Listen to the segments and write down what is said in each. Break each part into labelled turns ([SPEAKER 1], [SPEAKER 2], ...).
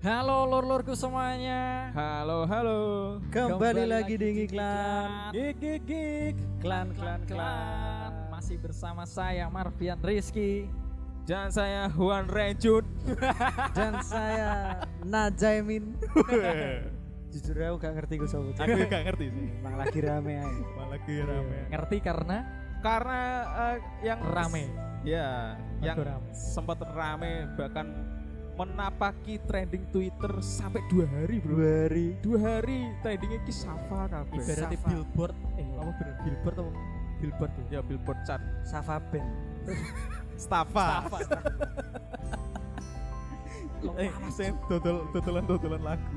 [SPEAKER 1] Halo lor-lorku semuanya.
[SPEAKER 2] Halo, halo.
[SPEAKER 1] Kembali lagi di Ngiklan.
[SPEAKER 2] Gig, gig, gig.
[SPEAKER 1] Klan klan klan masih bersama saya Marvian Rizky
[SPEAKER 2] Dan saya Juan Rejut.
[SPEAKER 3] dan saya Najaimin jujur aku gak ngerti gue sama
[SPEAKER 2] Aku gak ngerti sih.
[SPEAKER 3] emang lagi rame Iya. aja
[SPEAKER 2] Malah lagi rame.
[SPEAKER 1] ngerti karena
[SPEAKER 2] Karena eh, yang
[SPEAKER 1] rame.
[SPEAKER 2] Ya,
[SPEAKER 1] Waduh,
[SPEAKER 2] yang
[SPEAKER 1] rame.
[SPEAKER 2] sempat rame bahkan menapaki trending Twitter sampai dua hari bro.
[SPEAKER 3] dua hari
[SPEAKER 2] Dua hari trendingnya ki Safa kabeh.
[SPEAKER 1] Ibaratnya
[SPEAKER 3] Safa.
[SPEAKER 1] billboard, eh apa bener billboard apa billboard ya?
[SPEAKER 2] Ya billboard chart.
[SPEAKER 3] Safa Ben
[SPEAKER 2] Stafa.
[SPEAKER 1] Apa?
[SPEAKER 2] Eh, saya dodol dodolan dodolan lagu.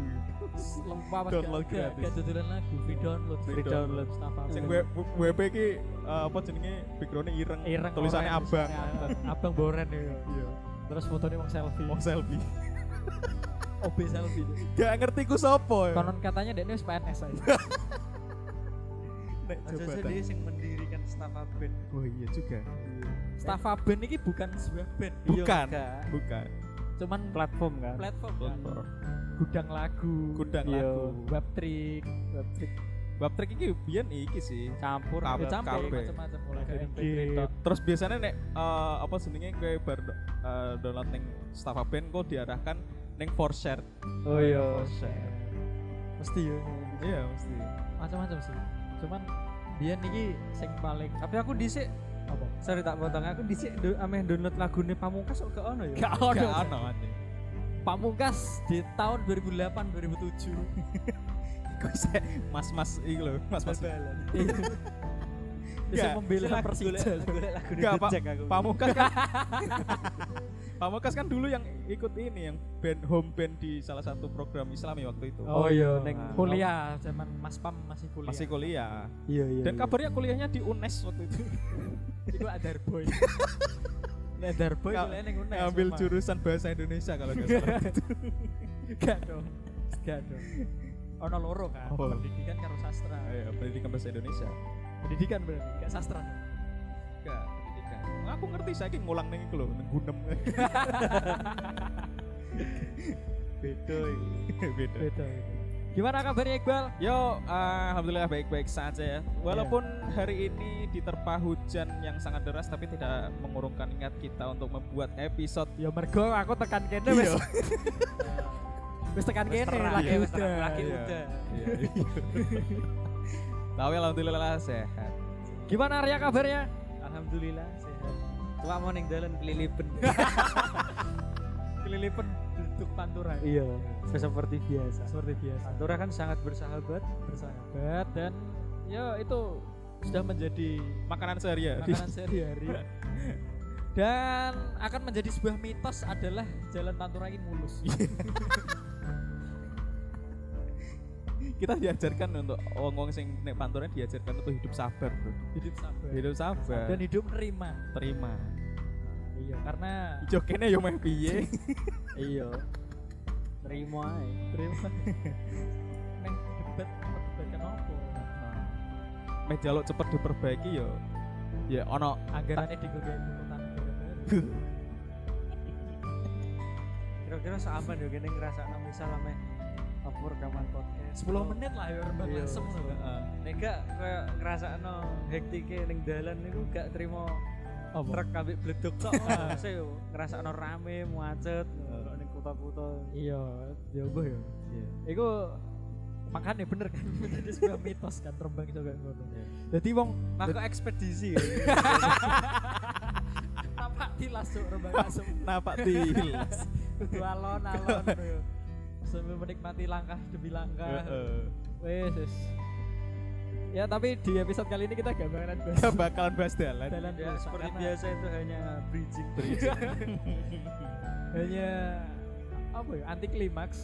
[SPEAKER 1] Lupa apa?
[SPEAKER 2] Download
[SPEAKER 1] Gak-
[SPEAKER 2] gratis.
[SPEAKER 1] Gak download lagu, free download.
[SPEAKER 2] Free download.
[SPEAKER 1] Mustafa.
[SPEAKER 2] Sing W- W- WP ki eh, apa jenenge backgroundnya ireng,
[SPEAKER 1] Eh, Ireng
[SPEAKER 2] tulisannya
[SPEAKER 1] oren,
[SPEAKER 2] abang.
[SPEAKER 1] tulisannya Abang boren ya.
[SPEAKER 2] Iya.
[SPEAKER 1] Terus fotonya mau selfie.
[SPEAKER 2] Wong selfie. Oh,
[SPEAKER 1] OB selfie.
[SPEAKER 2] Gak ngerti ku sopo ya.
[SPEAKER 1] Konon katanya dekne wis PNS aja.
[SPEAKER 2] Nek
[SPEAKER 3] aja
[SPEAKER 2] jabatan.
[SPEAKER 3] dia yang mendirikan Safa Ben
[SPEAKER 2] Oh iya juga.
[SPEAKER 1] Stafa Band ini bukan sebuah band.
[SPEAKER 3] Iya,
[SPEAKER 2] Bukan. Bukan.
[SPEAKER 1] Cuman
[SPEAKER 3] platform kan
[SPEAKER 1] platform kan. Gudang lagu.
[SPEAKER 2] Gudang
[SPEAKER 1] Iya.
[SPEAKER 2] lagu.
[SPEAKER 1] Web trick. Web trick.
[SPEAKER 2] Bab trek iki biyen iki sih.
[SPEAKER 1] campur
[SPEAKER 2] Kab-
[SPEAKER 1] ya campur
[SPEAKER 2] kabeh.
[SPEAKER 1] macam-macam mulai dari
[SPEAKER 2] Iki. Terus biasanya nek eh, apa senengnya kowe bar eh, download ning Stafa Band kok diarahkan ning for share.
[SPEAKER 1] oh iya
[SPEAKER 3] mesti ya
[SPEAKER 2] Iya mesti.
[SPEAKER 1] macam-macam sih cuman dia niki sing paling
[SPEAKER 3] tapi aku dhisik
[SPEAKER 1] apa
[SPEAKER 3] sorry tak potong aku dhisik do, ameh download lagune Pamungkas kok gak ono ya
[SPEAKER 1] gak ono
[SPEAKER 2] Gak ono anjing.
[SPEAKER 1] pamungkas di tahun 2008 2007
[SPEAKER 2] Kok saya mas-mas iki lho, mas-mas.
[SPEAKER 1] bisa
[SPEAKER 2] Gak,
[SPEAKER 1] membela
[SPEAKER 2] sing
[SPEAKER 1] Persija
[SPEAKER 3] lagune
[SPEAKER 2] Gak, Pak.
[SPEAKER 3] Dejek aku
[SPEAKER 2] Pamungkas kan Pamungkas kan dulu yang ikut ini yang band home band di salah satu program Islami waktu itu.
[SPEAKER 1] Oh, iya,
[SPEAKER 3] neng
[SPEAKER 1] kuliah zaman Mas Pam masih kuliah
[SPEAKER 2] Masih kuliah.
[SPEAKER 3] iya iya
[SPEAKER 2] Dan
[SPEAKER 3] iya.
[SPEAKER 2] kabarnya kuliahnya di UNES waktu itu.
[SPEAKER 1] itu Adar Boy Adar Boy
[SPEAKER 2] Nga-
[SPEAKER 1] kuliah neng UNES
[SPEAKER 2] Ngambil
[SPEAKER 1] Pak.
[SPEAKER 2] jurusan bahasa Indonesia kalau nggak salah.
[SPEAKER 1] gitu. gak dong gak dong ono loro kan
[SPEAKER 2] Apa?
[SPEAKER 1] pendidikan karo sastra
[SPEAKER 2] Ayo, pendidikan bahasa Indonesia.
[SPEAKER 1] pendidikan berarti gak sastra
[SPEAKER 2] Enggak, pendidikan. Nah, Aku ngerti saya ki ngulang ning iku lho, ning gunem. Beda iki. Beda.
[SPEAKER 1] beda gimana kabarnya Iqbal
[SPEAKER 2] Yo, eh, alhamdulillah baik-baik saja ya. Walaupun hari ini diterpa hujan yang sangat deras, tapi tidak mengurungkan niat kita untuk membuat episode.
[SPEAKER 1] Ya mergo aku tekan kene wis. Wis tekan
[SPEAKER 3] Wis
[SPEAKER 1] kene
[SPEAKER 3] terang,
[SPEAKER 1] lagi
[SPEAKER 3] iya, wis
[SPEAKER 1] udah.
[SPEAKER 3] terang, lagi
[SPEAKER 2] Iya.
[SPEAKER 3] udah.
[SPEAKER 2] Iya, iya. Tapi alhamdulillah sehat.
[SPEAKER 1] Gimana Arya kabarnya?
[SPEAKER 3] alhamdulillah sehat Cuma mau ning dalan kelilipen
[SPEAKER 1] Kelilipan duduk pantura.
[SPEAKER 3] iya seperti biasa
[SPEAKER 1] Seperti biasa.
[SPEAKER 3] Pantura kan sangat bersahabat
[SPEAKER 1] bersahabat dan ya itu sudah menjadi
[SPEAKER 2] Makanan sehari-hari.
[SPEAKER 3] Iya.
[SPEAKER 1] makanan sehari-hari. Dan akan menjadi sebuah mitos adalah jalan pantura ini mulus.
[SPEAKER 3] Iya.
[SPEAKER 2] Kita diajarkan untuk wong-wong sing nek panturan diajarkan untuk hidup sabar, Bro.
[SPEAKER 1] Hidup sabar.
[SPEAKER 2] Hidup sabar.
[SPEAKER 1] Dan hidup nerima.
[SPEAKER 2] terima.
[SPEAKER 1] Iya, karena
[SPEAKER 2] Jokene yo meh piye?
[SPEAKER 3] iya terima aja
[SPEAKER 1] terima. Neng debat perdebatkan apa?
[SPEAKER 2] Nah, Meh jaluk cepet diperbaiki yo. Ya ono
[SPEAKER 1] Anggarannya digoda tuntutan negara.
[SPEAKER 3] kira-kira seaman ya gini ngerasa nami salah meh apa rekaman podcast
[SPEAKER 1] 10 menit lah ya rembang
[SPEAKER 3] Iya,
[SPEAKER 1] asem loh.
[SPEAKER 3] nega kayak ngerasa no hektiknya neng dalan niku gak terima truk ambek bleduk tok saya yo ngerasa no rame macet kalau neng kota-kota
[SPEAKER 1] Iya, ya mbah ya.
[SPEAKER 2] Iya.
[SPEAKER 1] Iku makanya bener kan menjadi sebuah mitos kan rembang itu kayak ngono. Jadi wong
[SPEAKER 3] maka ekspedisi ya?
[SPEAKER 1] tampak tilas tuh rembang asem
[SPEAKER 2] napak tilas.
[SPEAKER 1] kudu alon-alon yo. Sambil menikmati langkah demi langkah.
[SPEAKER 2] Heeh.
[SPEAKER 1] Wes, wes. Ya tapi di episode kali ini kita gak bakalan bahas
[SPEAKER 2] Gak bakalan bahas dalan.
[SPEAKER 1] jalan
[SPEAKER 3] ya
[SPEAKER 1] rusak,
[SPEAKER 3] seperti
[SPEAKER 1] karena
[SPEAKER 3] biasa itu hanya bridging
[SPEAKER 1] Hanya Iya. apa ya anti klimaks.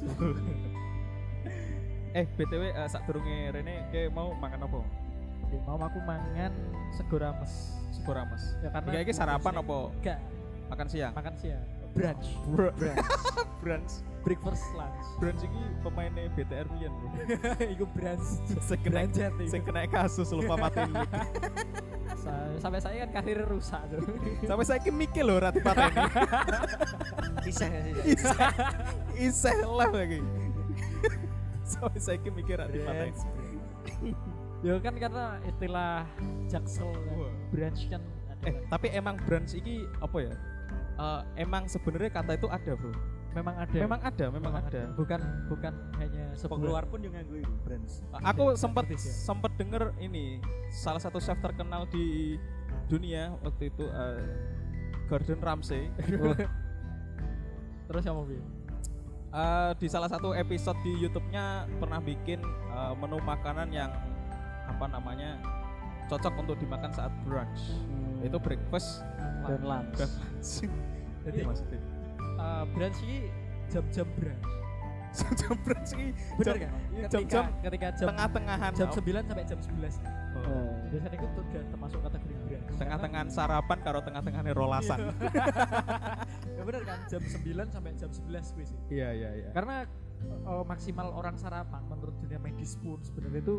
[SPEAKER 2] eh btw eh, sak durunge Rene kayak mau makan apa?
[SPEAKER 1] Ya, mau aku mangan sego rames.
[SPEAKER 2] Segora mas.
[SPEAKER 1] Ya karena
[SPEAKER 2] Kayak sarapan apa
[SPEAKER 1] Gak,
[SPEAKER 2] makan siang?
[SPEAKER 1] makan siang. Brunch.
[SPEAKER 2] Brunch.
[SPEAKER 1] breakfast lunch
[SPEAKER 2] Brunch iki pemainnya BTR pian. Bro.
[SPEAKER 1] iku brunch
[SPEAKER 2] Sing kena-
[SPEAKER 1] branjet
[SPEAKER 2] Sing
[SPEAKER 1] iku
[SPEAKER 2] kena kasus lupa matiin mic.
[SPEAKER 1] biasa. Sampai saya kan karir rusak tuh.
[SPEAKER 2] Sampai saya ki mikir loh rat pateni.
[SPEAKER 3] Iseh sih.
[SPEAKER 2] Iseh iseh lah lagi. Sampai saya ki mikir rat pateni.
[SPEAKER 1] ya kan karena istilah jaksel kan.
[SPEAKER 2] Wah.
[SPEAKER 1] branch kan ada.
[SPEAKER 2] Eh, tapi emang branch ini apa ya? Eh, emang sebenarnya kata itu ada, Bro.
[SPEAKER 1] memang ada.
[SPEAKER 2] Memang ada, memang ada.
[SPEAKER 1] Bukan bukan hanya sebuah
[SPEAKER 3] Pengeluar pun juga nganggo iku brands.
[SPEAKER 2] Aku sempat sempat denger ini salah satu chef terkenal di dunia waktu itu eh, Gordon Ramsay
[SPEAKER 1] terus sama Bi.
[SPEAKER 2] Eh, di salah satu episode di YouTube-nya pernah bikin eh, menu makanan yang apa namanya cocok untuk dimakan saat brunch. Itu breakfast
[SPEAKER 3] dan lunch.
[SPEAKER 2] Eh, dan lunch.
[SPEAKER 1] Jadi
[SPEAKER 2] maksudnya
[SPEAKER 1] eh, branch ini jam-jam branch.
[SPEAKER 2] jam brunch ini
[SPEAKER 1] Bener
[SPEAKER 2] jam-
[SPEAKER 1] kan?
[SPEAKER 2] iya,
[SPEAKER 1] Ketika-
[SPEAKER 2] jam-jam
[SPEAKER 1] ketika jam
[SPEAKER 2] tengah-tengahan
[SPEAKER 1] jam
[SPEAKER 2] oh,
[SPEAKER 1] 9 sampai jam 11.
[SPEAKER 2] oh.
[SPEAKER 4] Eh,
[SPEAKER 1] Biasanya itu udah termasuk kategori branch.
[SPEAKER 2] tengah-tengahan sarapan karo tengah-tengahan rolasan.
[SPEAKER 1] Ya bener kan? Jam 9 sampai jam 11 wis.
[SPEAKER 2] Iya iya iya.
[SPEAKER 1] Karena eh, maksimal orang sarapan menurut dunia medis pun sebenarnya itu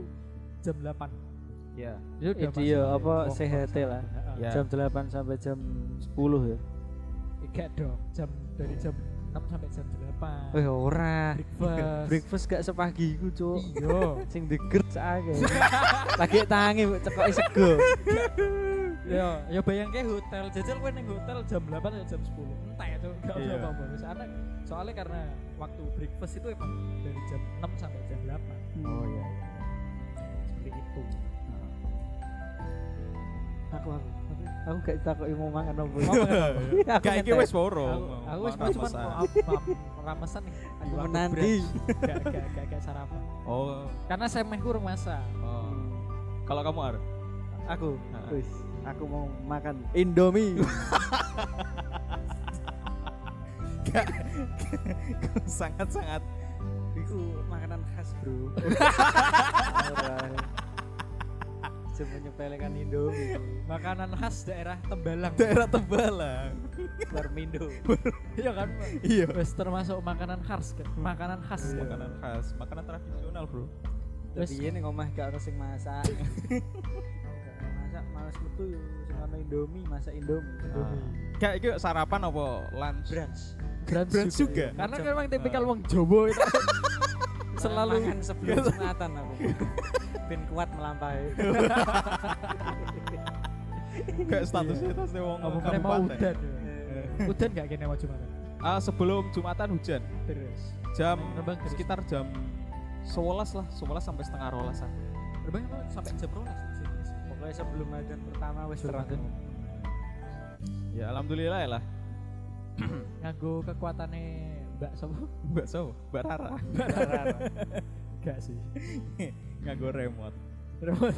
[SPEAKER 1] jam 8.
[SPEAKER 2] Iya.
[SPEAKER 1] Itu udah
[SPEAKER 4] Itu ya,
[SPEAKER 1] maksimal
[SPEAKER 4] apa,
[SPEAKER 1] Wong-
[SPEAKER 4] CHT
[SPEAKER 1] wong-
[SPEAKER 4] lah.
[SPEAKER 1] Heeh.
[SPEAKER 3] Iya.
[SPEAKER 2] Ya.
[SPEAKER 4] Jam 8 sampai jam 10 ya.
[SPEAKER 1] Enggak Iya dong, jam dari jam 6 sampai jam
[SPEAKER 3] Oh,
[SPEAKER 1] 8.
[SPEAKER 3] iya.
[SPEAKER 4] Eh ora. Eh,
[SPEAKER 1] Breakfast.
[SPEAKER 4] Breakfast gak sepagi iku, Cuk.
[SPEAKER 1] Iya.
[SPEAKER 4] Sing degert akeh. Lagi tangi mbok cekoki sego.
[SPEAKER 3] Hmm.
[SPEAKER 1] Ya, ya bayangke hotel. Jajal kowe ning hotel jam 8 atau jam 10. Entah itu enggak usah
[SPEAKER 2] Iya.
[SPEAKER 1] apa-apa. Wis anak soalnya karena waktu breakfast itu emang dari jam 6 sampai jam 8.
[SPEAKER 2] Oh iya.
[SPEAKER 1] Seperti itu.
[SPEAKER 4] Aku aku aku, aku gak takoki mau mangan opo.
[SPEAKER 2] iya.
[SPEAKER 4] Aku
[SPEAKER 2] Kayak iki
[SPEAKER 4] ngetes.
[SPEAKER 2] wis borong.
[SPEAKER 1] ya. Aku- Aku wis cuma ramesan nih.
[SPEAKER 4] Aku menanti.
[SPEAKER 1] Gak gak gak gak sarapan.
[SPEAKER 2] Oh.
[SPEAKER 1] Karena semeh kurang masak.
[SPEAKER 2] oh.
[SPEAKER 3] Hmm.
[SPEAKER 2] Kalau kamu Ar? Nah.
[SPEAKER 4] Aku.
[SPEAKER 3] Ah.
[SPEAKER 2] Heeh.
[SPEAKER 4] Wis, aku mau makan Indomie.
[SPEAKER 2] sangat-sangat
[SPEAKER 3] Iku makanan khas, Bro.
[SPEAKER 4] Ora. Cuma nyepelekan Indomie.
[SPEAKER 1] Makanan khas daerah Tembalang.
[SPEAKER 2] daerah Tembalang.
[SPEAKER 3] Warmindo.
[SPEAKER 1] Iya kan? Pak?
[SPEAKER 2] Iya.
[SPEAKER 1] Wes termasuk makanan khas kan? Makanan khas kan?
[SPEAKER 2] Makanan khas, makanan tradisional,
[SPEAKER 1] Iya.
[SPEAKER 2] Bro.
[SPEAKER 1] Wes
[SPEAKER 4] Tapi ini ngomah gak ono sing masak. Gak ono masak males metu yo sing ono Indomie, masak Indomie.
[SPEAKER 2] Nah. Kayak iki sarapan apa lunch?
[SPEAKER 3] Brands.
[SPEAKER 1] brunch
[SPEAKER 2] Brunch juga.
[SPEAKER 1] ya. Karena memang tipikal wong Jawa itu
[SPEAKER 3] Selalu
[SPEAKER 1] selalu
[SPEAKER 3] makan sebelum sunatan aku. Ben kuat melampaui.
[SPEAKER 2] Kan Kayak statusnya tas wong
[SPEAKER 1] Iya. apa mana mau
[SPEAKER 2] kabupaten.
[SPEAKER 1] udan. ya. Udan gak kene mau cuma.
[SPEAKER 2] Ah, sebelum Jumatan hujan.
[SPEAKER 1] Terus.
[SPEAKER 2] Jam
[SPEAKER 1] Terbang terus.
[SPEAKER 2] sekitar jam 11 lah, 11 sampai setengah rolasan.
[SPEAKER 1] Rebang sampai jam 12 sih.
[SPEAKER 4] Pokoknya sebelum adzan pertama wis
[SPEAKER 1] Sebelum
[SPEAKER 4] terang.
[SPEAKER 1] adzan.
[SPEAKER 2] Ya alhamdulillah ya lah.
[SPEAKER 1] Nganggo kekuatane Mbak Sopo?
[SPEAKER 2] Mbak So, Mbak Rara.
[SPEAKER 1] Gak sih.
[SPEAKER 2] Nganggo remote.
[SPEAKER 1] Terus.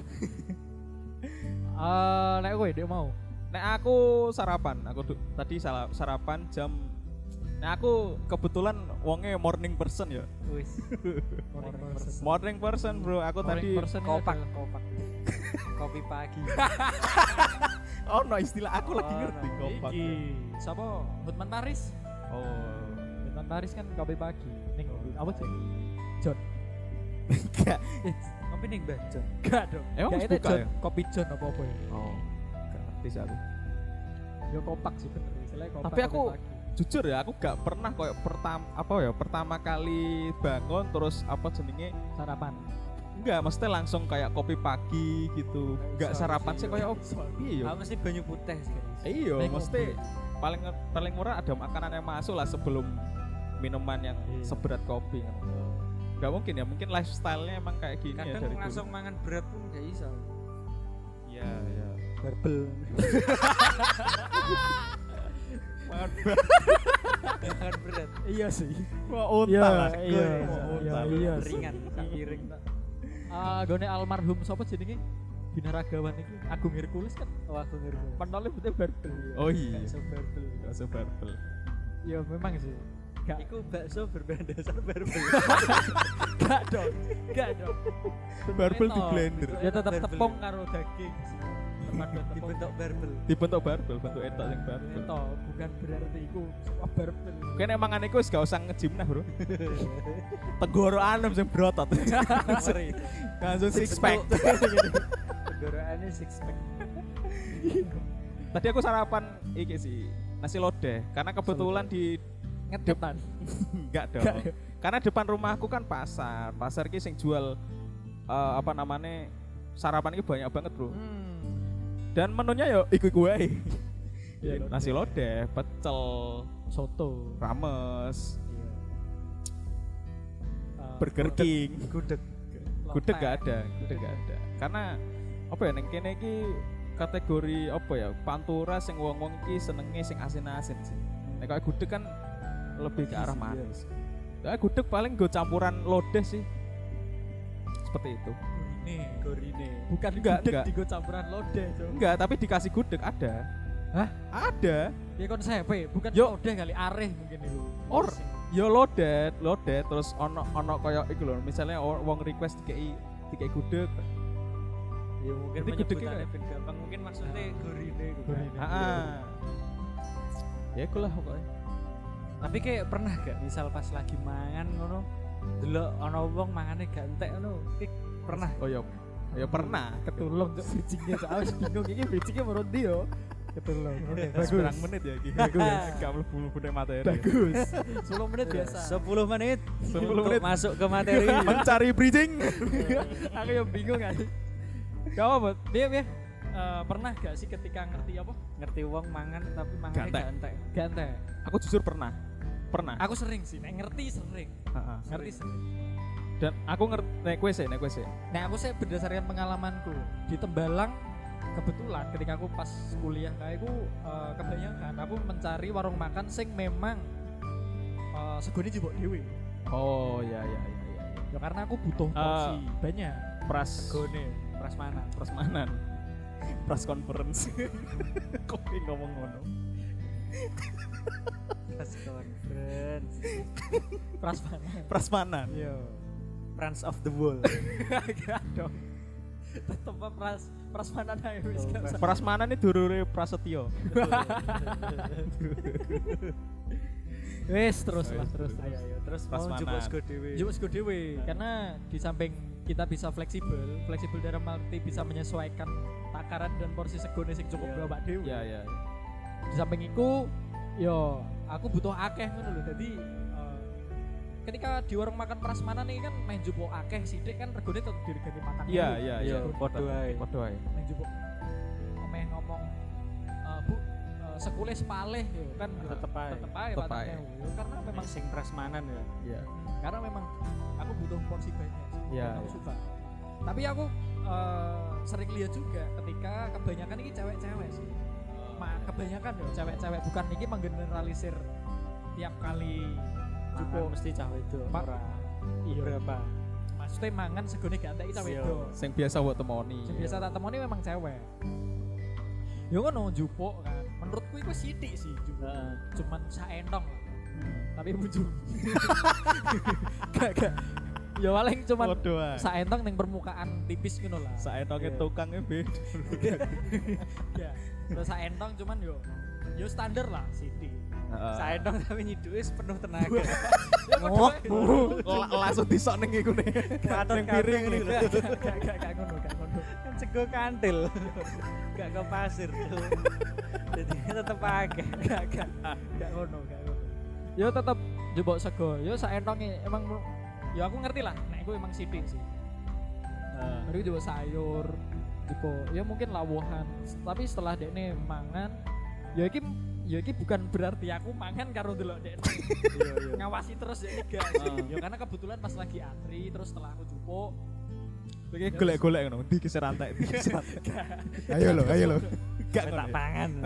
[SPEAKER 1] Eh, nek kowe dia mau.
[SPEAKER 2] Nek aku sarapan, aku du- tadi sala- sarapan jam Nah aku kebetulan wonge morning person ya.
[SPEAKER 3] Wis.
[SPEAKER 1] Morning person.
[SPEAKER 2] Morning person bro, aku
[SPEAKER 1] Morning
[SPEAKER 2] tadi
[SPEAKER 1] person
[SPEAKER 3] Kopak,
[SPEAKER 1] itu
[SPEAKER 3] kopak. Kopi pagi.
[SPEAKER 2] Oh nah, no istilah aku lagi
[SPEAKER 3] Oh,
[SPEAKER 2] ngerti
[SPEAKER 3] no.
[SPEAKER 1] adalah-
[SPEAKER 2] kompak.
[SPEAKER 1] Iki. Sopo? Hotman Paris.
[SPEAKER 2] Oh.
[SPEAKER 1] Hotman Paris kan kopi pagi. Ning
[SPEAKER 2] Oh.
[SPEAKER 1] apa sih? John.
[SPEAKER 2] Enggak.
[SPEAKER 3] Kopi ning Mbah Jon.
[SPEAKER 1] Gak dong.
[SPEAKER 2] Emang
[SPEAKER 1] Gak
[SPEAKER 2] wis
[SPEAKER 1] itu
[SPEAKER 2] buka
[SPEAKER 1] John,
[SPEAKER 2] ya?
[SPEAKER 1] kopi John apa-apa ya?
[SPEAKER 2] Oh. Enggak ngerti sih aku.
[SPEAKER 1] Ya kopak sih bener. Istilahnya kopak.
[SPEAKER 2] Tapi aku-
[SPEAKER 1] kopi pagi.
[SPEAKER 2] Jujur ya, aku gak pernah kayak pertama apa ya, pertama kali bangun terus apa jenenge?
[SPEAKER 1] sarapan.
[SPEAKER 2] Enggak, maksudnya langsung kayak kopi pagi gitu. Enggak
[SPEAKER 1] Sorry
[SPEAKER 2] sarapan
[SPEAKER 1] sih,
[SPEAKER 2] sih
[SPEAKER 1] iya.
[SPEAKER 2] kayak opo?
[SPEAKER 1] Sorry.
[SPEAKER 2] Iya.
[SPEAKER 3] Aku mesti banyu putih sih.
[SPEAKER 2] Iya,
[SPEAKER 1] Nek
[SPEAKER 2] mesti
[SPEAKER 1] ngopi.
[SPEAKER 2] paling paling murah ada makanan yang masuk lah sebelum minuman yang
[SPEAKER 1] Iya.
[SPEAKER 2] seberat kopi kan. Gak mungkin ya, mungkin lifestyle-nya emang kayak gini ya dari
[SPEAKER 3] Kadang
[SPEAKER 2] dulu.
[SPEAKER 3] langsung mangan berat pun gak iso.
[SPEAKER 2] Iya, iya.
[SPEAKER 4] Barbel.
[SPEAKER 2] Makan
[SPEAKER 3] Mangan berat.
[SPEAKER 1] Iya sih.
[SPEAKER 2] Wah,
[SPEAKER 1] Iya,
[SPEAKER 2] lah.
[SPEAKER 1] iya,
[SPEAKER 2] Wah,
[SPEAKER 1] iya,
[SPEAKER 2] untal.
[SPEAKER 1] iya.
[SPEAKER 3] Ringan, sak piring tak.
[SPEAKER 1] Ah, gone almarhum sapa jenenge? Binaragawan iki Agung Hercules kan
[SPEAKER 4] Oh aku ngerti.
[SPEAKER 1] pentole putih barbel.
[SPEAKER 2] Oh iya,
[SPEAKER 1] Bakso barbel.
[SPEAKER 2] gak sebarbel.
[SPEAKER 1] Ya memang sih. Gak
[SPEAKER 3] Iku bakso berbahan dasar barbel.
[SPEAKER 1] gak dong. Gak dong.
[SPEAKER 2] Barbel
[SPEAKER 1] Toh.
[SPEAKER 2] di blender.
[SPEAKER 1] Ya tetap
[SPEAKER 3] Barbel.
[SPEAKER 1] tepung karo daging. Terpadu tepung.
[SPEAKER 3] Dibentuk barbel.
[SPEAKER 2] Dibentuk barbel, bentuk etok yang barbel.
[SPEAKER 1] Itu bukan berarti iku sebuah barbel.
[SPEAKER 2] Kan emang aneh wis gak usah ngejim nah, Bro. Tenggorokan sing brotot.
[SPEAKER 3] Sorry.
[SPEAKER 2] Langsung six pack.
[SPEAKER 4] tenggorokannya six pack.
[SPEAKER 2] Tadi aku sarapan iki sih nasi lodeh karena kebetulan di
[SPEAKER 1] ngedepan
[SPEAKER 2] enggak dong. karena depan rumahku kan pasar. Pasar ki sing jual eh, apa namanya sarapan ini banyak banget bro
[SPEAKER 3] Hmm.
[SPEAKER 2] dan menunya yo iku iku wae.
[SPEAKER 1] Iya,
[SPEAKER 2] nasi lodeh, pecel,
[SPEAKER 1] soto Iya.
[SPEAKER 2] rames,
[SPEAKER 1] Eh,
[SPEAKER 2] burger king,
[SPEAKER 4] Gudeg.
[SPEAKER 2] gudeg gak ada, gudeg gak ada. Karena apa ya neng kene iki kategori apa ya pantura sing wong-wong iki senenge sing asin-asin sih. Nek kayak gudeg kan lebih ke
[SPEAKER 1] Iya,
[SPEAKER 2] arah manis. Nah, gudeg paling gue campuran lodeh sih. Seperti itu.
[SPEAKER 1] ini
[SPEAKER 4] Gorine.
[SPEAKER 1] bukan
[SPEAKER 2] Enggak,
[SPEAKER 1] gudeg
[SPEAKER 2] enggak.
[SPEAKER 1] digo campuran lodeh Cok.
[SPEAKER 2] Enggak, tapi dikasih gudeg ada.
[SPEAKER 1] Hah?
[SPEAKER 2] Ada.
[SPEAKER 1] ya konsep eh, bukan
[SPEAKER 2] Yo.
[SPEAKER 1] lodeh kali areh mungkin itu
[SPEAKER 2] Or yo loaded, loaded terus ono ono koyo iku lho, misalnya o- wong request dikei dikei gudeg.
[SPEAKER 3] Ya mungkin
[SPEAKER 2] Nanti gudegnya
[SPEAKER 3] penyebutannya ben gampang. Mungkin maksudnya gorine gitu. kan.
[SPEAKER 1] Gorine.
[SPEAKER 2] Heeh. Ya ikulah pokoknya.
[SPEAKER 3] Tapi kayak pernah gak misal pas lagi mangan ngono delok ana wong mangane gak entek ngono. Ki pernah
[SPEAKER 2] Oh yo. Ya pernah.
[SPEAKER 1] ketulung cok bridgingnya cok awas bingung ini bridgingnya menurut dia ketulung Oke,
[SPEAKER 2] Seberang menit ya gitu. Bagus. Gak perlu guna materi.
[SPEAKER 1] bagus 10 menit biasa
[SPEAKER 3] 10 Iya. menit
[SPEAKER 2] 10
[SPEAKER 3] untuk
[SPEAKER 2] menit.
[SPEAKER 3] masuk ke materi.
[SPEAKER 2] Mencari bridging.
[SPEAKER 1] aku yang bingung kan
[SPEAKER 3] Gak apa
[SPEAKER 1] dia dia eh, pernah gak sih ketika ngerti apa
[SPEAKER 3] ngerti wong mangan tapi
[SPEAKER 2] Gak
[SPEAKER 3] mangane
[SPEAKER 2] entek.
[SPEAKER 3] gak entek.
[SPEAKER 1] ganteng
[SPEAKER 2] Aku jujur pernah. Pernah.
[SPEAKER 1] aku sering sih nek ngerti sering
[SPEAKER 2] Heeh.
[SPEAKER 1] ngerti sering
[SPEAKER 2] Dan aku ngerti nek kowe sih, nek kowe sih.
[SPEAKER 1] nah aku sih berdasarkan pengalamanku di Tembalang kebetulan ketika aku pas kuliah kayak aku eh, kebanyakan aku mencari warung makan sing memang eh, segone jebok dewe
[SPEAKER 2] Oh, ya ya ya ya.
[SPEAKER 1] ya karena aku butuh porsi banyak
[SPEAKER 2] Pras
[SPEAKER 1] segone
[SPEAKER 3] Prasmanan.
[SPEAKER 2] prasmanan. Pras conference. Kok ngomong ngono?
[SPEAKER 3] Press conference.
[SPEAKER 1] prasmanan
[SPEAKER 2] Prasmanan.
[SPEAKER 1] yo
[SPEAKER 3] Friends of the world.
[SPEAKER 1] agak dong tetep apa, pras prasmanan ae wis gak usah.
[SPEAKER 2] Prasmanan ini durure Prasetyo.
[SPEAKER 1] wis terus lah terus
[SPEAKER 3] Ayo
[SPEAKER 1] terus
[SPEAKER 3] ayo terus mau
[SPEAKER 2] Prasmanan.
[SPEAKER 3] jupuk sego dhewe.
[SPEAKER 1] Jauh sego dewe karena di samping kita bisa fleksibel, fleksibel dalam arti bisa menyesuaikan takaran dan porsi segone sing cukup
[SPEAKER 3] Iya.
[SPEAKER 1] berapa dewe.
[SPEAKER 2] Ya ya.
[SPEAKER 1] Di samping iku yo aku butuh akeh ngono lho. Dadi eh, ketika di warung makan prasmanan ini kan main jupuk akeh sithik kan regone tetep diregani patang.
[SPEAKER 2] Iya
[SPEAKER 1] puluh.
[SPEAKER 2] iya
[SPEAKER 3] Iya,
[SPEAKER 2] iya.
[SPEAKER 3] podo ae.
[SPEAKER 2] Podo ae.
[SPEAKER 1] Main jupuk omeh ngomong eh, Bu eh, sekule sepalih yo kan
[SPEAKER 3] Tetep ae.
[SPEAKER 1] tetep ae
[SPEAKER 2] Tetep
[SPEAKER 1] patang
[SPEAKER 2] ae.
[SPEAKER 1] ewu. karena memang
[SPEAKER 3] Memang sing prasmanan ya.
[SPEAKER 2] Iya.
[SPEAKER 1] karena memang aku butuh porsi banyak sih,
[SPEAKER 2] Iya,
[SPEAKER 1] dan aku
[SPEAKER 2] iya.
[SPEAKER 1] suka tapi aku eh, sering lihat juga ketika kebanyakan ini cewek-cewek sih Ma- kebanyakan ya cewek-cewek bukan ini menggeneralisir tiap kali
[SPEAKER 3] Jupuk
[SPEAKER 1] cukup
[SPEAKER 3] mesti cah wedok.
[SPEAKER 1] Pak.
[SPEAKER 3] Ora.
[SPEAKER 1] iya
[SPEAKER 3] Berapa?
[SPEAKER 1] maksudnya mangan segone gak entek cewek
[SPEAKER 3] Iya.
[SPEAKER 1] itu
[SPEAKER 2] Sing biasa buat temoni.
[SPEAKER 1] biasa tak temoni memang cewek ya ngono jupuk kan menurutku itu sidik sih jupuk
[SPEAKER 3] Heeh.
[SPEAKER 1] cuman saentong lah.
[SPEAKER 3] Hmm.
[SPEAKER 1] tapi ujung gak gak ya paling cuman
[SPEAKER 2] Podo ae.
[SPEAKER 1] saentong ning permukaan tipis ngono lah
[SPEAKER 2] Saentoke
[SPEAKER 3] Iya.
[SPEAKER 2] tukangnya beda.
[SPEAKER 1] ya terus saentong cuman yo yo standar lah CD
[SPEAKER 3] Saya dong tapi nyiduke penuh tenaga.
[SPEAKER 1] ngok
[SPEAKER 2] Langsung disok ning iku nih.
[SPEAKER 3] Paton
[SPEAKER 2] Yang piring
[SPEAKER 3] kabeh
[SPEAKER 2] nih.
[SPEAKER 3] lho.
[SPEAKER 1] gak gak gak ngono gak ngono
[SPEAKER 3] kan sego kantil gak ke pasir tuh jadi tetep akeh
[SPEAKER 1] gak gak gak ngono gak ngono yo tetep jebok sego yo saentonge emang yo aku ngerti lah nek iku emang sidik sih baru juga sayur tipo ya mungkin lawohan tapi setelah dekne mangan ya iki ya iki bukan berarti aku mangan karo delok dekne ngawasi terus ya enggak ya karena kebetulan pas lagi antri terus setelah aku jupuk
[SPEAKER 2] Lagi golek-golek ngono, ndi ki serantek, ndi ki serantek. Ayo lo, ayo lo. Gak
[SPEAKER 3] tak pangan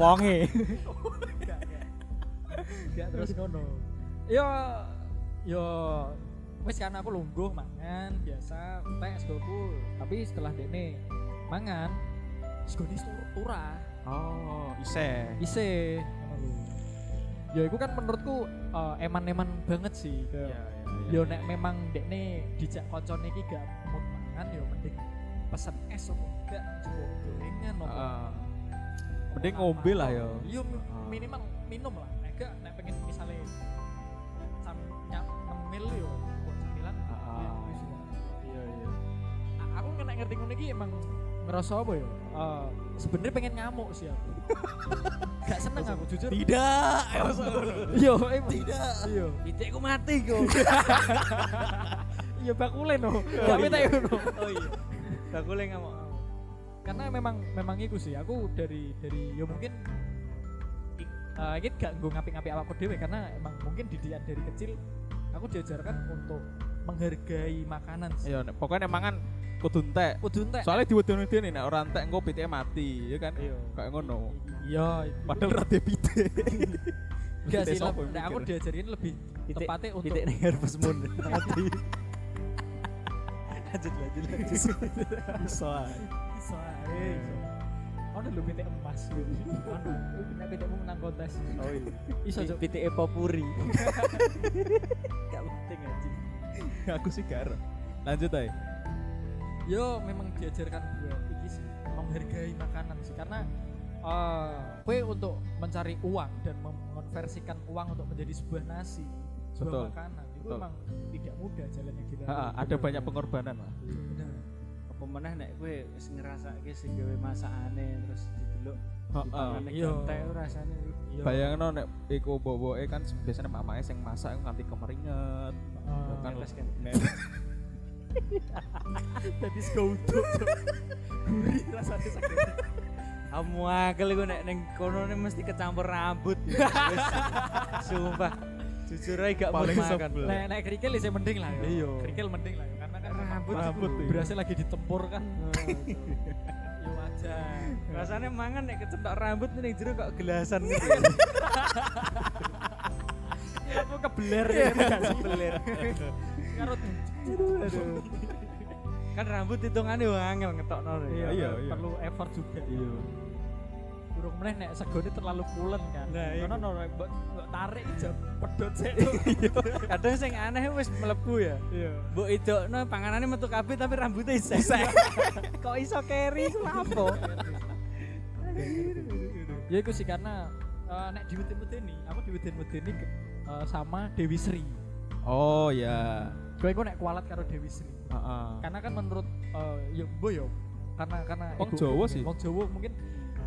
[SPEAKER 2] wonge.
[SPEAKER 1] enggak enggak. enggak terus ngono ya ya wis karena aku lungguh mangan biasa tek segoku tapi setelah dekne mangan segone tur- turah
[SPEAKER 2] Oh, ise.
[SPEAKER 1] Ise. Ya itu kan menurutku eh, eman-eman banget sih.
[SPEAKER 2] Iya,
[SPEAKER 1] Kayak,
[SPEAKER 2] iya,
[SPEAKER 1] Yo nek memang dekne dijak koncone iki gak mood mangan yo mending pesen es opo gak cukup gorengan
[SPEAKER 2] iya.
[SPEAKER 1] opo.
[SPEAKER 2] Heeh. Mending ngombe lah yo.
[SPEAKER 1] Yo mi-
[SPEAKER 2] Ah.
[SPEAKER 1] minimal minum lah. Nek gak nek pengen misalnya sam nyam ngemil yo ya, buat camilan.
[SPEAKER 2] Ah.
[SPEAKER 1] ya wis.
[SPEAKER 3] iya iya
[SPEAKER 1] A- Aku kena nek ngerti ngono iki emang ngerasa apa ya? Eh, sebenarnya pengen ngamuk sih aku. Gak seneng aku jujur.
[SPEAKER 2] Tidak.
[SPEAKER 1] Iya, emang. Tidak. Iya.
[SPEAKER 3] Idekku mati kok.
[SPEAKER 1] Iya bakulen no. Gak minta ya no.
[SPEAKER 3] oh iya. Aku lagi ngamuk.
[SPEAKER 1] Karena memang memang iku sih aku dari dari ya mungkin eh ini gak nggo ngapi-ngapi awakku dhewe karena emang mungkin didikan dari kecil aku diajarkan untuk menghargai makanan sih.
[SPEAKER 2] Iya, nek- pokoknya emang kan kudu entek.
[SPEAKER 1] Kudu entek.
[SPEAKER 2] Soalnya diwedeni dene nek ora entek engko pitike mati, ya kan?
[SPEAKER 1] Iya.
[SPEAKER 2] Kayak ngono.
[SPEAKER 1] Iya.
[SPEAKER 2] Padahal ora de pitik.
[SPEAKER 1] Enggak sih,
[SPEAKER 2] Sopo
[SPEAKER 1] leb-
[SPEAKER 2] yang
[SPEAKER 1] nah, aku
[SPEAKER 2] mikir?
[SPEAKER 1] diajarin lebih
[SPEAKER 3] Titik-
[SPEAKER 1] tepatnya untuk
[SPEAKER 3] Idek nih harus mun. Mati. Lanjut lanjut lanjut. Bisa.
[SPEAKER 1] soalnya Ono lho pitik emas gitu. Ono, nek pitikmu menang kontes.
[SPEAKER 3] Oh iya.
[SPEAKER 1] Iso Cuk.
[SPEAKER 3] Pitik Epopuri. Gak penting aja.
[SPEAKER 2] aku sih gak ero. Lanjut ae.
[SPEAKER 1] Yo memang diajarkan buat iki sih menghargai makanan sih karena eh kue untuk mencari uang dan mengonversikan uang untuk menjadi sebuah nasi,
[SPEAKER 2] Betul.
[SPEAKER 1] sebuah makanan itu
[SPEAKER 2] Betul.
[SPEAKER 1] memang tidak mudah jalannya kita.
[SPEAKER 2] Ha, ada banyak pengorbanan lah.
[SPEAKER 3] Apa meneh nek kowe wis ngrasake sing gawe masakane terus didelok
[SPEAKER 2] Heeh.
[SPEAKER 3] dipangane
[SPEAKER 1] Iya.
[SPEAKER 3] gantek rasane.
[SPEAKER 1] Iya.
[SPEAKER 2] Bayangno nek iku boboke kan biasanya mamake sing masak iku nganti kemeringet.
[SPEAKER 1] Eh,
[SPEAKER 2] Kan
[SPEAKER 3] Netes kan.
[SPEAKER 2] nek
[SPEAKER 1] Jadi sekutu. Gurih rasanya sakit.
[SPEAKER 3] Kamu akal gue nek neng kono nih mesti kecampur rambut. ya. Wis. Sumpah. Jujur aja gak mau
[SPEAKER 2] Paling
[SPEAKER 3] makan.
[SPEAKER 2] sebel.
[SPEAKER 1] Nah, nah kerikil sih mending lah.
[SPEAKER 2] Iya.
[SPEAKER 1] Iya. Kerikil mending lah, yo. karena kan
[SPEAKER 3] Rambut
[SPEAKER 1] memang
[SPEAKER 2] rambut, iya.
[SPEAKER 1] berasnya lagi ditempur kan. Ya Yo aja.
[SPEAKER 3] Rasanya mangan nek kecetok rambut nih jero kok gelasan gitu.
[SPEAKER 1] Aku kebeler
[SPEAKER 2] Iya.
[SPEAKER 1] ya.
[SPEAKER 3] Beler.
[SPEAKER 1] Karut.
[SPEAKER 3] Kan rambut hitungannya wah angel ngetok nol.
[SPEAKER 1] Iya,
[SPEAKER 2] Iya,
[SPEAKER 1] iya,
[SPEAKER 2] iya.
[SPEAKER 1] Perlu effort juga.
[SPEAKER 2] iya.
[SPEAKER 1] Burung meneh nek segone terlalu pulen kan.
[SPEAKER 3] Nah, iya.
[SPEAKER 1] Ngono no nek mbok mbok tarik jam pedot sik.
[SPEAKER 3] Kadang sing aneh wis melebu ya.
[SPEAKER 1] Iya.
[SPEAKER 3] Mbok idokno panganane metu kabeh tapi rambutnya isek. kok iso keri ku lapo?
[SPEAKER 1] Ya iku sih karena eh, nek diwedeni-wedeni, aku diwedeni-wedeni ke- eh, sama Dewi Sri.
[SPEAKER 2] Oh ya.
[SPEAKER 1] Kowe iku nek kualat karo Dewi Sri.
[SPEAKER 2] Heeh.
[SPEAKER 1] karena kan menurut eh ya mbok ya karena karena
[SPEAKER 2] Wong
[SPEAKER 1] ego-
[SPEAKER 2] Jawa sih.
[SPEAKER 1] wong Jawa mungkin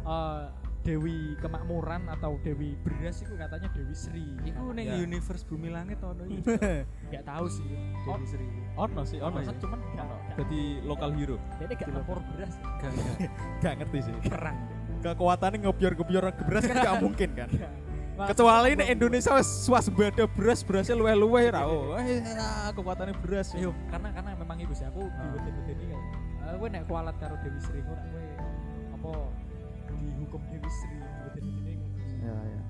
[SPEAKER 1] eh, Dewi kemakmuran atau Dewi beras itu katanya Dewi Sri
[SPEAKER 3] Iku ning
[SPEAKER 2] Ya.
[SPEAKER 3] universe bumi langit ono iki.
[SPEAKER 1] nggak tahu sih
[SPEAKER 3] Dewi Sri.
[SPEAKER 2] Ono sih,
[SPEAKER 3] Oh,
[SPEAKER 2] ono.
[SPEAKER 3] iya.
[SPEAKER 1] Masa
[SPEAKER 2] sih.
[SPEAKER 1] cuman Oh. nggak
[SPEAKER 2] Ono.
[SPEAKER 1] nggak-
[SPEAKER 2] Jadi lokal hero.
[SPEAKER 1] jadi nggak lapor beras
[SPEAKER 3] Gak gak
[SPEAKER 2] Gak ngerti sih.
[SPEAKER 3] perang.
[SPEAKER 2] Kekuatannya ngebior-ngebior beras kan gak mungkin kan.
[SPEAKER 1] Wah,
[SPEAKER 2] Kecuali
[SPEAKER 1] cuman-
[SPEAKER 2] nek Indonesia wis swasembada beras, berasnya luweh-luweh ra. Oh, eh, ah, kekuatannya beras.
[SPEAKER 1] Iya, karena karena memang iku sih aku
[SPEAKER 2] Ah.
[SPEAKER 1] diwetin-wetin ini kan. Eh, Gue nek kualat karo Dewi Sri gue gue apa dihukum Dewi Sri diwetin-wetin ini. gitu." ngono sih.
[SPEAKER 2] Ya, ya.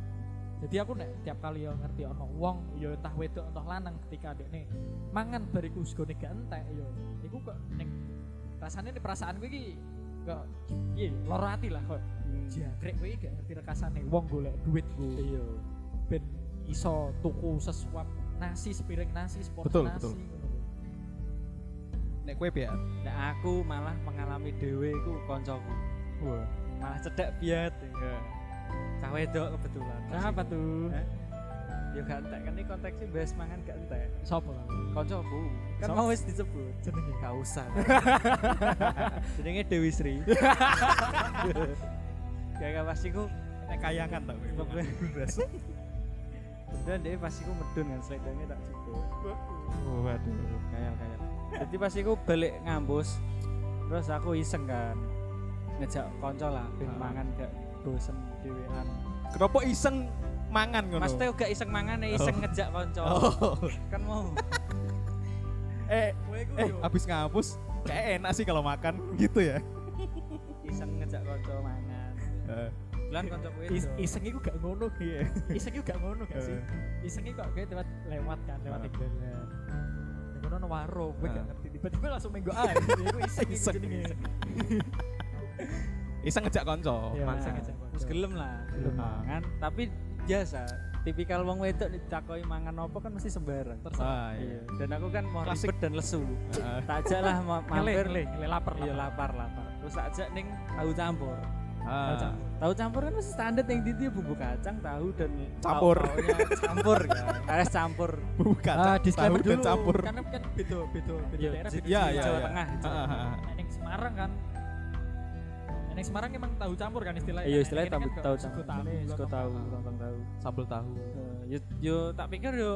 [SPEAKER 1] Jadi aku nek tiap kali yo ngerti ono wong yo entah wedok entah lanang ketika dekne mangan bariku segone gak entek yo. Iku kok nek rasane nih perasaan gue iki kok piye ya, lara ati lah kok. Jangkrik gue gak ngerti rekasane wong golek duit gue. Iya. Ben iso tuku sesuap nasi sepiring nasi sport
[SPEAKER 2] Betul,
[SPEAKER 1] nasi.
[SPEAKER 2] betul.
[SPEAKER 1] ngono lho.
[SPEAKER 2] Nek ya? kue pian.
[SPEAKER 3] Nek aku malah mengalami dhewe iku kancaku.
[SPEAKER 2] Wah.
[SPEAKER 3] Malah cedak biat. Ya. Cah wedok kebetulan.
[SPEAKER 1] Kenapa tuh?
[SPEAKER 3] Eh? Ya gak entek kan ini konteksnya bahas mangan gak entek.
[SPEAKER 1] Sopo?
[SPEAKER 3] Kancaku. Kan
[SPEAKER 1] Sop-
[SPEAKER 3] mau wis disebut.
[SPEAKER 1] Jenenge.
[SPEAKER 3] Gak usah. Jenenge Dewi Sri. ya gak pasti ku
[SPEAKER 2] Nek kayangan tak kue.
[SPEAKER 3] Pokoknya Dan dia pasti ku medun kan selendangnya tak cukup.
[SPEAKER 2] Waduh.
[SPEAKER 3] Kayak kayak. Jadi pasti ku balik ngampus. Terus aku iseng kan ngejak konco lah ben
[SPEAKER 2] Ah.
[SPEAKER 3] mangan gak bosen dhewean.
[SPEAKER 2] Kenapa iseng mangan ngono?
[SPEAKER 3] Mas Teo gak iseng mangan ya iseng
[SPEAKER 2] Oh.
[SPEAKER 3] ngejak konco.
[SPEAKER 2] Oh.
[SPEAKER 3] Kan mau.
[SPEAKER 2] Eh,
[SPEAKER 3] Kowe ku
[SPEAKER 2] eh
[SPEAKER 3] yo
[SPEAKER 2] habis ngapus kayak enak sih kalau makan gitu ya.
[SPEAKER 3] iseng ngejak konco mangan.
[SPEAKER 2] Eh,
[SPEAKER 3] Lan konco kowe.
[SPEAKER 1] Is
[SPEAKER 3] do.
[SPEAKER 1] iseng iku gak ngono.
[SPEAKER 2] Iya.
[SPEAKER 1] Iseng iku gak ngono gak sih? Iseng iku kok kayak lewat lewat kan, lewat
[SPEAKER 2] Ah.
[SPEAKER 1] tinggalan. Yang ngono ono warung, gue gak
[SPEAKER 2] Ah.
[SPEAKER 1] ngerti. Tiba-tiba langsung "Ah, menggo ae. Iku iseng gitu iku
[SPEAKER 2] Iseng.
[SPEAKER 1] jenenge.
[SPEAKER 2] Iseng ngejak konco.
[SPEAKER 1] Iya,
[SPEAKER 2] mangan.
[SPEAKER 1] iseng ngejak konco.
[SPEAKER 3] Terus gelem lah, gelem
[SPEAKER 2] Ah.
[SPEAKER 3] mangan. Tapi biasa, tipikal wong wedok ditakoi mangan apa kan mesti sembarang.
[SPEAKER 2] Ah,
[SPEAKER 3] Iya.
[SPEAKER 2] iya. Ah,
[SPEAKER 3] Dan aku kan mau
[SPEAKER 2] Klasik.
[SPEAKER 3] ribet dan lesu.
[SPEAKER 2] Heeh.
[SPEAKER 3] Tak ajak lah ma- mampir
[SPEAKER 1] Mampir le, le lapar
[SPEAKER 3] Iya
[SPEAKER 1] lah.
[SPEAKER 3] lapar lapar. Terus tak ajak ning tahu campur.
[SPEAKER 2] Ah.
[SPEAKER 3] Tahu campur kan mesti standar yang di dia bumbu kacang, tahu dan
[SPEAKER 2] Campur.
[SPEAKER 3] tau-taunya campur kan. Harus campur.
[SPEAKER 2] Bukan.
[SPEAKER 1] Ah,
[SPEAKER 2] tahu
[SPEAKER 1] disclaimer
[SPEAKER 2] dan
[SPEAKER 1] dulu.
[SPEAKER 2] campur.
[SPEAKER 1] Karena kan beda beda beda
[SPEAKER 3] Iya,
[SPEAKER 1] daerah.
[SPEAKER 3] j- iya,
[SPEAKER 1] beda
[SPEAKER 2] Ya,
[SPEAKER 1] jeneng.
[SPEAKER 2] ya,
[SPEAKER 3] Jawa
[SPEAKER 2] ya.
[SPEAKER 3] Tengah, Jawa
[SPEAKER 2] Ah, ah, ah.
[SPEAKER 1] Nah, ning Semarang kan. Nek Semarang emang tahu campur kan istilahnya.
[SPEAKER 3] Iya
[SPEAKER 1] Nek
[SPEAKER 3] istilahnya
[SPEAKER 1] kene kan
[SPEAKER 3] tahu
[SPEAKER 1] gak-
[SPEAKER 3] tahu
[SPEAKER 1] sego
[SPEAKER 3] tahu
[SPEAKER 1] tali,
[SPEAKER 3] tahu
[SPEAKER 1] lontong
[SPEAKER 3] tahu
[SPEAKER 1] tahu.
[SPEAKER 3] lontong tahu.
[SPEAKER 2] sambel tahu
[SPEAKER 3] Eh, Yo, yo tak pikir yo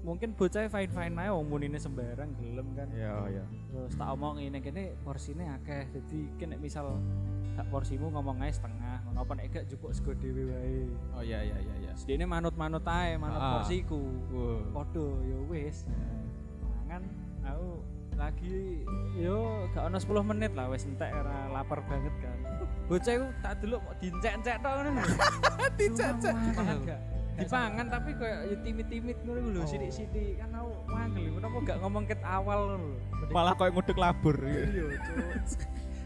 [SPEAKER 3] mungkin bocah fine fine aja wong munine sembarang gelem kan.
[SPEAKER 2] iya iya
[SPEAKER 3] Terus tak omongin nek kene porsine akeh. Jadi kene misal gak porsimu ngomong aja setengah, ngono apa nek gak jupuk sego dhewe wae.
[SPEAKER 2] oh iya iya iya iya
[SPEAKER 3] Sedene manut-manut ae, manut
[SPEAKER 2] Ah.
[SPEAKER 3] porsiku.
[SPEAKER 2] Wow.
[SPEAKER 3] Podo yo wis. Mangan aku lagi yo gak ono 10 menit lah wis entek ora lapar banget kan. Bocah iku tak delok kok dincek-ncek tok ngono lho.
[SPEAKER 2] Dicacak.
[SPEAKER 3] Pangan gak? Dipangan tapi kayak ya timit-timit ngono iku lho, sithik-sithik kan aku wangel lho, kenapa gak ngomong ket awal ngono lho.
[SPEAKER 2] malah kayak ngudek labur
[SPEAKER 3] Iya, Cuk.